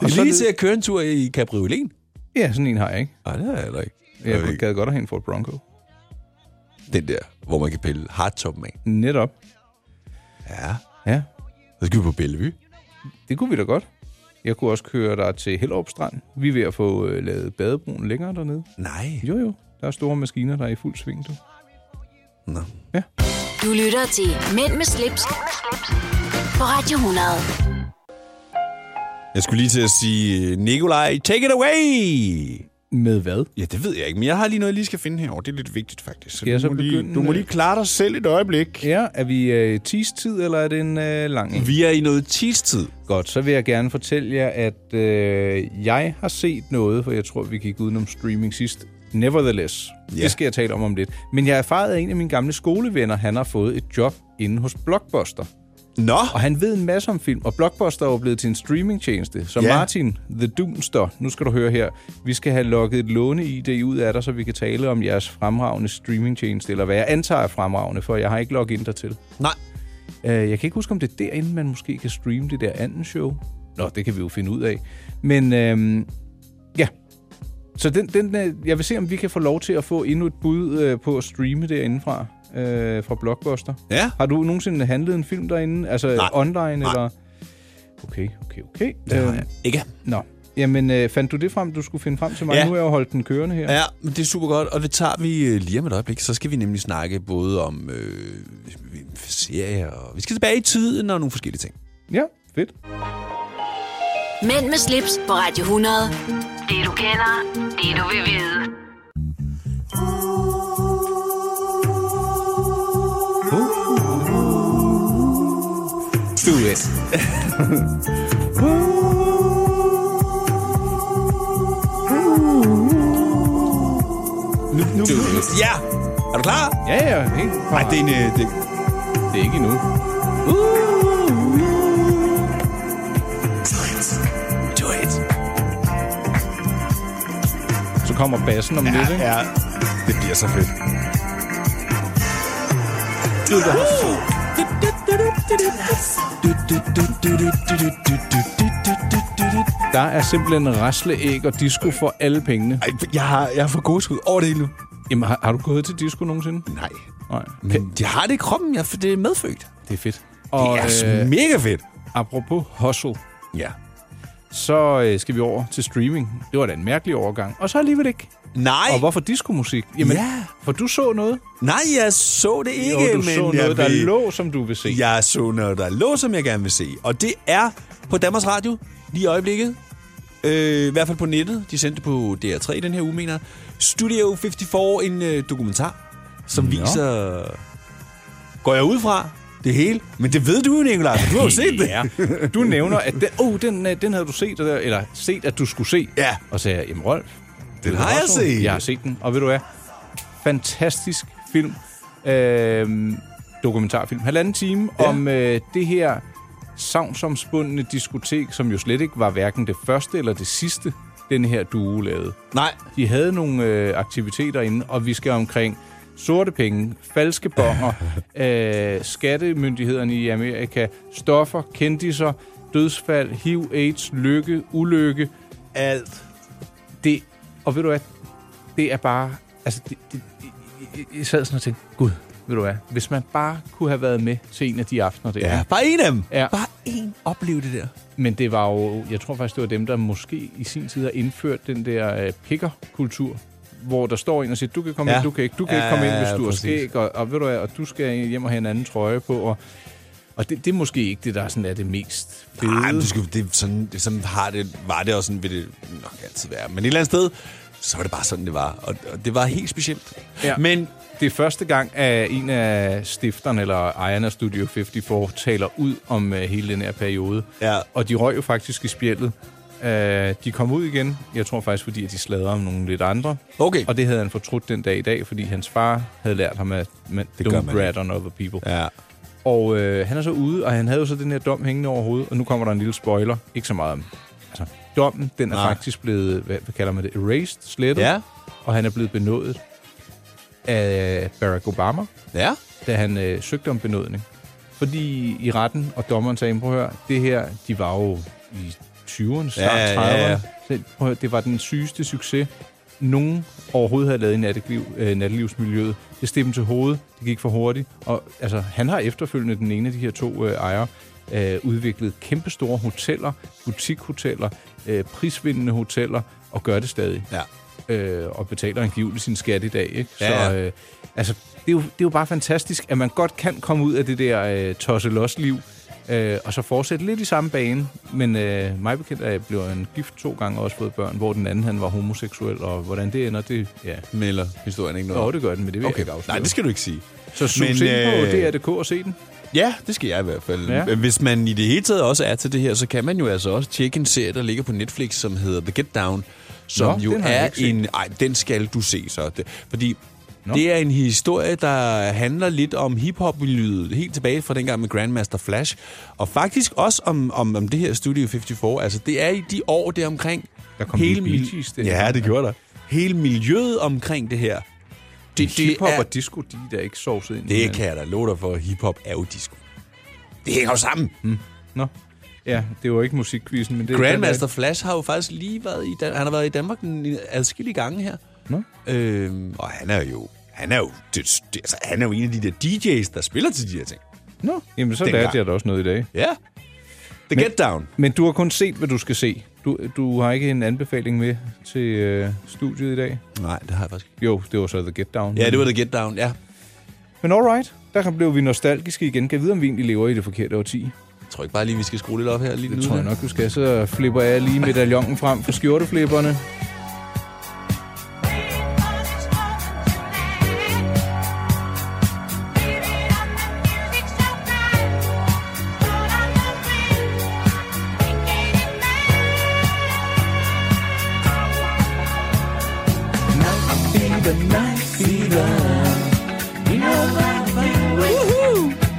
[SPEAKER 2] Det
[SPEAKER 3] så
[SPEAKER 2] er
[SPEAKER 3] er
[SPEAKER 2] lige
[SPEAKER 3] det-
[SPEAKER 2] til at køre en tur i cabriolen.
[SPEAKER 3] Ja, sådan en har jeg ikke.
[SPEAKER 2] Nej, det har jeg heller ikke.
[SPEAKER 3] Jeg kunne gad godt have en Ford Bronco.
[SPEAKER 2] Den der, hvor man kan pille hardtoppen af.
[SPEAKER 3] Netop.
[SPEAKER 2] Ja.
[SPEAKER 3] Ja.
[SPEAKER 2] Så skal vi på Bellevue.
[SPEAKER 3] Det kunne vi da godt. Jeg kunne også køre dig til Hellerup Strand. Vi er ved at få øh, lavet badebroen længere dernede.
[SPEAKER 2] Nej.
[SPEAKER 3] Jo, jo. Der er store maskiner, der er i fuld sving. Du.
[SPEAKER 1] Du lytter til Mænd med slips, på Radio 100.
[SPEAKER 2] Jeg skulle lige til at sige, øh, Nikolaj, take it away!
[SPEAKER 3] Med hvad?
[SPEAKER 2] Ja, det ved jeg ikke, men jeg har lige noget, jeg lige skal finde herovre. Det er lidt vigtigt, faktisk. Så
[SPEAKER 3] Ja,
[SPEAKER 2] du,
[SPEAKER 3] så
[SPEAKER 2] må lige,
[SPEAKER 3] begynd,
[SPEAKER 2] du må
[SPEAKER 3] øh,
[SPEAKER 2] lige klare dig selv et øjeblik.
[SPEAKER 3] Ja, er vi øh, tease-tid, eller er det en øh, lang en?
[SPEAKER 2] Vi er i noget tease-tid.
[SPEAKER 3] Godt, så vil jeg gerne fortælle jer, at øh, jeg har set noget, for jeg tror, vi gik udenom streaming sidst. Nevertheless.
[SPEAKER 2] Ja.
[SPEAKER 3] Yeah. Det skal jeg tale om om lidt. Men jeg erfarede, at en af mine gamle skolevenner, han har fået et job inde hos Blockbuster.
[SPEAKER 2] Nå!
[SPEAKER 3] Og han ved en masse om film, og Blockbuster er jo blevet til en streamingtjeneste. Så
[SPEAKER 2] Ja.
[SPEAKER 3] yeah. Martin, The Doomster, nu skal du høre her. Vi skal have lukket et låne-ID ud af dig, så vi kan tale om jeres fremragende streamingtjeneste, eller hvad jeg antager er fremragende, for jeg har ikke logget ind dertil.
[SPEAKER 2] Nej.
[SPEAKER 3] Øh, Jeg kan ikke huske, om det er derinde, man måske kan streame det der anden show. Nå, det kan vi jo finde ud af. Men øhm, ja, så den, den, øh, jeg vil se, om vi kan få lov til at få endnu et bud øh, på at streame derindefra. øh, fra Blockbuster.
[SPEAKER 2] Ja.
[SPEAKER 3] Har du nogensinde handlet en film derinde? Altså
[SPEAKER 2] Nej.
[SPEAKER 3] nej, online nej.
[SPEAKER 2] Nej.
[SPEAKER 3] eller? Okay, okay, okay.
[SPEAKER 2] Det har jeg
[SPEAKER 3] ikke. Nå. Jamen, øh, fandt du det frem, du skulle finde frem til mig?
[SPEAKER 2] Ja.
[SPEAKER 3] Ja. Nu har jeg jo holdt den kørende her.
[SPEAKER 2] Ja, men det er super godt, og det tager vi øh, lige om et øjeblik. Så skal vi nemlig snakke både om øh, serier, og vi skal tilbage i tiden og nogle forskellige ting.
[SPEAKER 3] Ja, fedt.
[SPEAKER 1] Mænd med slips på Radio 100. Det du kender, det du vil vide.
[SPEAKER 3] Do it. nu, nu.
[SPEAKER 2] Ja! Er du klar?
[SPEAKER 3] Ja, ja, helt klar.
[SPEAKER 2] Nej, det er en... øh, Det...
[SPEAKER 3] det er ikke endnu.
[SPEAKER 2] Do it.
[SPEAKER 3] Så kommer bassen om ja, lidt, ikke?
[SPEAKER 2] Ja, det bliver så fedt.
[SPEAKER 3] Du, der har Der er simpelthen rasleæg og disco for alle pengene. Ej, jeg har, jeg har for gode skud over det hele nu. Jamen, har, har du gået til disco nogensinde?
[SPEAKER 2] Nej.
[SPEAKER 3] Nej.
[SPEAKER 2] Men de har det i kroppen, jeg, for det er medfødt.
[SPEAKER 3] Det er fedt.
[SPEAKER 2] Det er mega fedt.
[SPEAKER 3] øh, Apropos hustle.
[SPEAKER 2] Ja.
[SPEAKER 3] Så øh, skal vi over til streaming. Det var da en mærkelig overgang. Og så alligevel ikke.
[SPEAKER 2] Nej.
[SPEAKER 3] Og hvorfor diskomusik? Jamen,
[SPEAKER 2] Ja.
[SPEAKER 3] for du så noget.
[SPEAKER 2] Nej, jeg så det ikke,
[SPEAKER 3] jo, du
[SPEAKER 2] men
[SPEAKER 3] så noget,
[SPEAKER 2] jeg
[SPEAKER 3] der
[SPEAKER 2] vil-
[SPEAKER 3] lå, som du vil se.
[SPEAKER 2] Jeg så noget, der lå, som jeg gerne vil se. Og det er på Danmarks Radio lige i øjeblikket. Øh, I hvert fald på nettet. De sendte det på DR3 den her uge, mener jeg. Studio 54, en øh, dokumentar, som Nå. viser... Går jeg ud fra det hele? Men det ved du jo, Nicolaj, for du har jo set det.
[SPEAKER 3] Ja. Du nævner, at den, oh, den, øh, den havde du set, eller- eller set, at du skulle se.
[SPEAKER 2] Ja.
[SPEAKER 3] Og så sagde jeg, jamen Rolf.
[SPEAKER 2] Den
[SPEAKER 3] ved
[SPEAKER 2] har
[SPEAKER 3] du
[SPEAKER 2] jeg
[SPEAKER 3] også noget?"
[SPEAKER 2] set.
[SPEAKER 3] Jeg har set den, og ved du hvad? Fantastisk film. Øhm, dokumentarfilm. Halvanden time ja. om øh, det her savnsomspundne diskotek, som jo slet ikke var hverken det første eller det sidste, den her duo lavede.
[SPEAKER 2] Nej.
[SPEAKER 3] De havde nogle øh, aktiviteter inde, og vi skal omkring sorte penge, falske bonger, øh, skattemyndighederne i Amerika, stoffer, kendiser, dødsfald, HIV, AIDS, lykke, ulykke.
[SPEAKER 2] Alt.
[SPEAKER 3] Det, og ved du hvad, det er bare... Altså, det, det, jeg- jeg sad sådan og tænkte, gud, ved du hvad, hvis man bare kunne have været med til en af de aftener der.
[SPEAKER 2] Ja, bare en af dem.
[SPEAKER 3] Ja.
[SPEAKER 2] Bare en opleve det der.
[SPEAKER 3] Men det var jo, jeg tror faktisk, det var dem, der måske i sin tid har indført den der øh, picker-kultur, hvor der står en og siger, du kan komme
[SPEAKER 2] Ja.
[SPEAKER 3] ja. ind, du kan ikke, du kan
[SPEAKER 2] Ja,
[SPEAKER 3] ja, ikke komme
[SPEAKER 2] ja,
[SPEAKER 3] ind, hvis
[SPEAKER 2] ja,
[SPEAKER 3] du har
[SPEAKER 2] præcis.
[SPEAKER 3] skæg, og, og, ved du, hvad, og du skal hjem og have en anden trøje på, og, og det, det er måske ikke det, der sådan er det mest fede.
[SPEAKER 2] Nej, men det, skal, det, er sådan, det er sådan har det, var det også sådan, vil det nok altid være. Men et eller andet sted, så var det bare sådan, det var. Og, og det var helt specielt.
[SPEAKER 3] Ja. Men det er første gang, at en af stifterne eller ejerne af Studio 54 taler ud om uh, hele den her periode.
[SPEAKER 2] Ja.
[SPEAKER 3] Og de røg jo faktisk i spjældet. Uh, de kom ud igen, jeg tror faktisk, fordi at de sladrede om nogle lidt andre.
[SPEAKER 2] Okay.
[SPEAKER 3] Og det havde han fortrudt den dag i dag, fordi hans far havde lært ham, at man,
[SPEAKER 2] Det
[SPEAKER 3] det
[SPEAKER 2] gør
[SPEAKER 3] don't
[SPEAKER 2] man
[SPEAKER 3] brat
[SPEAKER 2] ikke.
[SPEAKER 3] on other people.
[SPEAKER 2] Ja.
[SPEAKER 3] Og øh, han er så ude, og han havde jo så den her dom hængende over hovedet, og nu kommer der en lille spoiler. Ikke så meget om... Altså, dommen, den er
[SPEAKER 2] Nej.
[SPEAKER 3] Nej. faktisk blevet, hvad, hvad kalder man det, erased, slettet.
[SPEAKER 2] Ja.
[SPEAKER 3] Og han er blevet benådet af Barack Obama,
[SPEAKER 2] ja.
[SPEAKER 3] da han øh, søgte om benådning. Fordi i retten, og dommeren sagde, prøv at høre, det her, de var jo i 20'erne, start
[SPEAKER 2] Ja, ja,
[SPEAKER 3] 30'erne.
[SPEAKER 2] ja, ja.
[SPEAKER 3] Så, prøv at høre, det var den sygeste succes, nogen overhovedet havde lavet i natteliv, øh, nattelivsmiljøet. Det steg dem til hovedet, det gik for hurtigt. Og altså, han har efterfølgende, den ene af de her to øh, ejere, øh, udviklet kæmpestore hoteller, butikhoteller, øh, prisvindende hoteller, og gør det stadig.
[SPEAKER 2] Ja.
[SPEAKER 3] Øh, og betaler angiveligt sin skat i dag. Ikke?
[SPEAKER 2] Ja,
[SPEAKER 3] Så,
[SPEAKER 2] ja.
[SPEAKER 3] øh, altså, det er, jo, det er jo bare fantastisk, at man godt kan komme ud af det der øh, tosse-los-liv, øh, og så fortsætte lidt i samme bane. Men øh, mig bekendt er jeg blevet en gift to gange og også fået børn, hvor den anden han var homoseksuel, og hvordan det ender, det... Ja.
[SPEAKER 2] Melder historien ikke noget
[SPEAKER 3] Nå,
[SPEAKER 2] om.
[SPEAKER 3] det gør den, men det vil jeg
[SPEAKER 2] okay.
[SPEAKER 3] ikke afsløre.
[SPEAKER 2] Nej, det skal øh, du ikke sige.
[SPEAKER 3] Så sus ind på DR.dk og se den.
[SPEAKER 2] Ja, det skal jeg i hvert fald. Ja.
[SPEAKER 3] Ja.
[SPEAKER 2] Hvis man i det hele taget også er til det her, så kan man jo altså også tjekke en serie, der ligger på Netflix, som hedder The Get Down, som
[SPEAKER 3] Nå,
[SPEAKER 2] jo
[SPEAKER 3] den har jeg
[SPEAKER 2] er
[SPEAKER 3] ikke set.
[SPEAKER 2] en... Ej, den skal du se så. Det, fordi Nå. det er en historie, der handler lidt om hiphop-miljøet, helt tilbage fra dengang med Grandmaster Flash, og faktisk også om, om, om det her Studio 54. Altså, det er i de år der omkring... Der
[SPEAKER 3] kom de Bee Gees, det her.
[SPEAKER 2] Ja, det gjorde der. Hele miljøet omkring det her. Det, det
[SPEAKER 3] Hiphop
[SPEAKER 2] er,
[SPEAKER 3] og disco, de er da ikke sovset ind. i
[SPEAKER 2] det
[SPEAKER 3] hinanden.
[SPEAKER 2] kan jeg da love dig for. Hiphop er jo disco. Det hænger jo sammen.
[SPEAKER 3] Mm. Nå. Ja, det var ikke musikquizzen, men det
[SPEAKER 2] Grandmaster Flash har jo faktisk lige været i, Dan- han har været i Danmark en adskillige gange her.
[SPEAKER 3] Nå.
[SPEAKER 2] Øhm, og han er jo han er jo, det, det, altså, han er jo en af de der DJ's, der spiller til de her ting.
[SPEAKER 3] Nå, jamen så
[SPEAKER 2] Dengang.
[SPEAKER 3] lærte jeg da også noget i dag.
[SPEAKER 2] Ja. The
[SPEAKER 3] men,
[SPEAKER 2] Get Down.
[SPEAKER 3] Men du har kun set, hvad du skal se. Du, du har ikke en anbefaling med til øh, studiet i dag?
[SPEAKER 2] Nej, det har jeg faktisk
[SPEAKER 3] Jo, det var så The Get Down.
[SPEAKER 2] Ja, det var The Get Down, ja.
[SPEAKER 3] Men alright, der blev vi nostalgiske igen. Kan jeg vide, om vi egentlig lever i det forkerte årti?
[SPEAKER 2] Jeg tror ikke bare lige, vi skal skrue lidt op her lige nu.
[SPEAKER 3] Det tror jeg nok, du skal. Så flipper jeg lige medaljongen frem for skjorteflipperne.
[SPEAKER 5] Fever, night fever. You know that thing with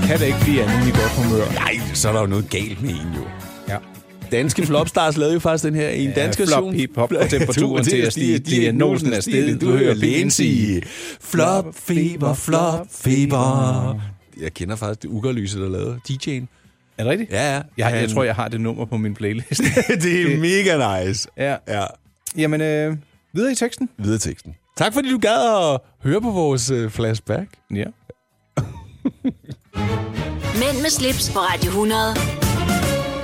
[SPEAKER 3] Man kan da ikke blive andet i godt humør.
[SPEAKER 2] Nej, så er der jo noget galt med en jo.
[SPEAKER 3] Ja.
[SPEAKER 2] Danske Flopstars lavede jo faktisk den her i en
[SPEAKER 3] Ja,
[SPEAKER 2] dansk
[SPEAKER 3] flop,
[SPEAKER 2] version.
[SPEAKER 3] hip, hop, og temperaturen til at stige. Diagnosen er steget. Du hører lægen sige,
[SPEAKER 2] Flop, feber, flop, feber. Jeg kender faktisk det ugerlyse, der lavede DJ'en.
[SPEAKER 3] Er det rigtigt?
[SPEAKER 2] Ja, Øhm. ja.
[SPEAKER 3] Jeg, jeg
[SPEAKER 2] Han-
[SPEAKER 3] tror, jeg har det nummer på min playlist.
[SPEAKER 2] det er mega nice.
[SPEAKER 3] Ja.
[SPEAKER 2] ja.
[SPEAKER 3] Jamen, øh, videre i teksten.
[SPEAKER 2] Videre i teksten. Tak fordi du gad at høre på vores øh, flashback.
[SPEAKER 3] Ja.
[SPEAKER 1] Mænd med slips på Radio 100.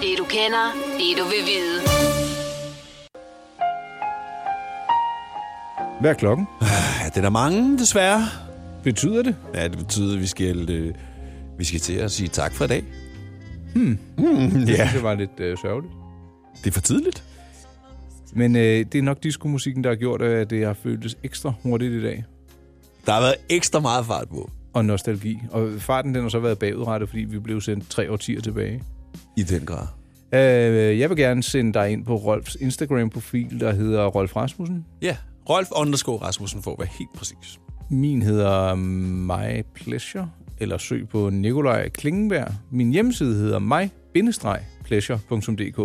[SPEAKER 1] Det du kender, det du vil vide.
[SPEAKER 3] Hvad er klokken?
[SPEAKER 2] Ja, den er mange, desværre.
[SPEAKER 3] Betyder det?
[SPEAKER 2] Ja, det betyder, at vi skal, øh, vi skal til at sige tak for i dag.
[SPEAKER 3] Hmm.
[SPEAKER 2] Hmm,
[SPEAKER 3] Jeg
[SPEAKER 2] ja.
[SPEAKER 3] synes, det var lidt øh, sørgeligt.
[SPEAKER 2] Det er for tidligt.
[SPEAKER 3] Men øh, det er nok diskomusikken, der har gjort, øh, at det har føltes ekstra hurtigt i dag.
[SPEAKER 2] Der har været ekstra meget fart på.
[SPEAKER 3] Og nostalgi. Og farten den har så været bagudrettet, fordi vi blev sendt tre årtier tilbage.
[SPEAKER 2] I den grad.
[SPEAKER 3] Øh, jeg vil gerne sende dig ind på Rolfs Instagram-profil, der hedder Rolf Rasmussen.
[SPEAKER 2] Ja, Rolf underscore Rasmussen får være helt præcis.
[SPEAKER 3] Min hedder My Pleasure, eller søg på Nikolaj Klingenberg. Min hjemmeside hedder my-pleasure.dk.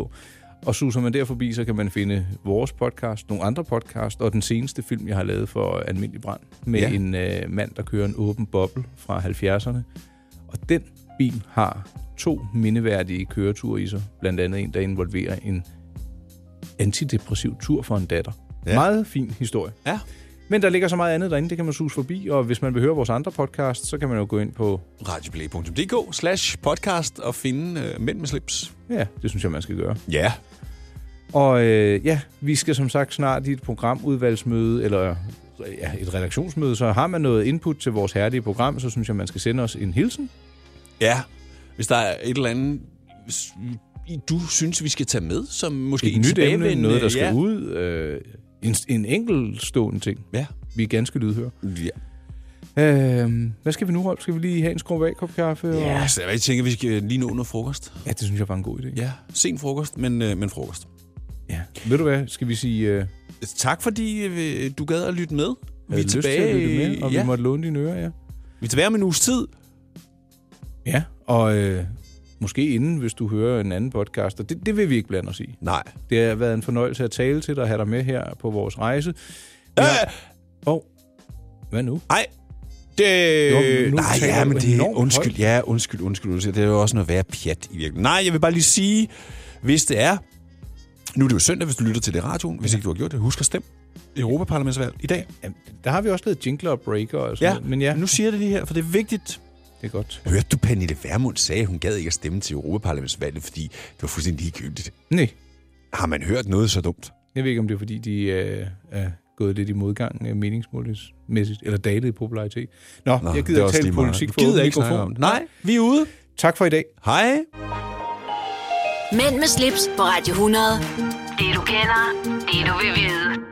[SPEAKER 3] Og suser man der forbi, så kan man finde vores podcast, nogle andre podcast, og den seneste film, jeg har lavet for Almindelig Brand, med
[SPEAKER 2] Ja.
[SPEAKER 3] ja. en øh, mand, der kører en åben boble fra 70'erne. Og den bil har to mindeværdige køreture i sig. Blandt andet en, der involverer en antidepressiv tur for en datter. Ja. Meget fin historie.
[SPEAKER 2] Ja.
[SPEAKER 3] Men der ligger så meget andet derinde, det kan man sus forbi, og hvis man vil høre vores andre podcast, så kan man jo gå ind på...
[SPEAKER 2] Radioplay.dk slash podcast og finde øh, Mænd med slips.
[SPEAKER 3] Ja, det synes jeg, man skal gøre.
[SPEAKER 2] Ja.
[SPEAKER 3] Og øh, ja, vi skal som sagt snart i et programudvalgsmøde, eller øh, ja, et redaktionsmøde, så har man noget input til vores herlige program, så synes jeg, man skal sende os en hilsen.
[SPEAKER 2] Ja. Hvis der er et eller andet, hvis I- du synes, vi skal tage med, som måske
[SPEAKER 3] Et
[SPEAKER 2] en
[SPEAKER 3] nyt emne,
[SPEAKER 2] tilbagevendende-
[SPEAKER 3] noget, der skal
[SPEAKER 2] ja.
[SPEAKER 3] ja. ud. Øh, en, en enkeltstående ting.
[SPEAKER 2] Ja.
[SPEAKER 3] Vi er ganske lydhøre.
[SPEAKER 2] Ja.
[SPEAKER 3] Øh, hvad skal vi nu, Rolf? Skal vi lige have en skrub af kop kaffe?
[SPEAKER 2] Ja,
[SPEAKER 3] Og...
[SPEAKER 2] så jeg tænker, vi skal lige nå noget frokost.
[SPEAKER 3] Ja, det synes jeg var en god idé.
[SPEAKER 2] Ja, sen frokost, men, øh, men frokost.
[SPEAKER 3] Ved du hvad, skal vi sige... Øh,
[SPEAKER 2] Tak fordi øh, du gad at lytte med. Vi er
[SPEAKER 3] havde lyst til at
[SPEAKER 2] tilbage,
[SPEAKER 3] lytte med, og vi
[SPEAKER 2] ja.
[SPEAKER 3] måtte låne dine ører, ja.
[SPEAKER 2] vi er tilbage om en uges tid.
[SPEAKER 3] Ja, og øh, måske inden, hvis du hører en anden podcast, og det, det vil vi ikke blande os i.
[SPEAKER 2] Nej.
[SPEAKER 3] Det har været en fornøjelse at tale til dig og have dig med her på vores rejse. Ja.
[SPEAKER 2] Øh!
[SPEAKER 3] Og hvad nu?
[SPEAKER 2] Nej, det...
[SPEAKER 3] Jo, nu
[SPEAKER 2] Nej,
[SPEAKER 3] taler
[SPEAKER 2] ja,
[SPEAKER 3] du
[SPEAKER 2] men det er
[SPEAKER 3] enormt
[SPEAKER 2] undskyld,
[SPEAKER 3] højt.
[SPEAKER 2] ja, undskyld, undskyld, undskyld. Det er jo også noget værd pjat i virkeligheden. Nej, jeg vil bare lige sige, hvis det er... Nu er det jo søndag, hvis du lytter til det i radioen. Hvis ikke du har gjort det, husk at stemme. Europaparlamentsvalg i dag.
[SPEAKER 3] Jamen, der har vi også lavet jingler og breaker og sådan
[SPEAKER 2] Ja,
[SPEAKER 3] noget, men ja,
[SPEAKER 2] nu siger jeg det lige her, for det er vigtigt.
[SPEAKER 3] det er godt.
[SPEAKER 2] Hørte du, Pernille Vermund sagde, at hun gad ikke at stemme til Europaparlamentsvalget, fordi det var fuldstændig ligegyldigt.
[SPEAKER 3] Nej,
[SPEAKER 2] Har man hørt noget så dumt?
[SPEAKER 3] jeg ved ikke, om det er, fordi de øh, er gået lidt i modgang øh, meningsmålingsmæssigt, eller dalet i popularitet. Nå, Nå jeg
[SPEAKER 2] det er
[SPEAKER 3] gider ikke
[SPEAKER 2] også
[SPEAKER 3] tale
[SPEAKER 2] lige meget.
[SPEAKER 3] politik
[SPEAKER 2] Vi
[SPEAKER 3] for
[SPEAKER 2] gider
[SPEAKER 3] åben
[SPEAKER 2] ikke snakke
[SPEAKER 3] mikrofon.
[SPEAKER 2] om det. Nej, vi er ude.
[SPEAKER 3] Tak for i dag.
[SPEAKER 2] Hej.
[SPEAKER 1] Mænd med slips på Radio 100. Det du kender, det du vil vide.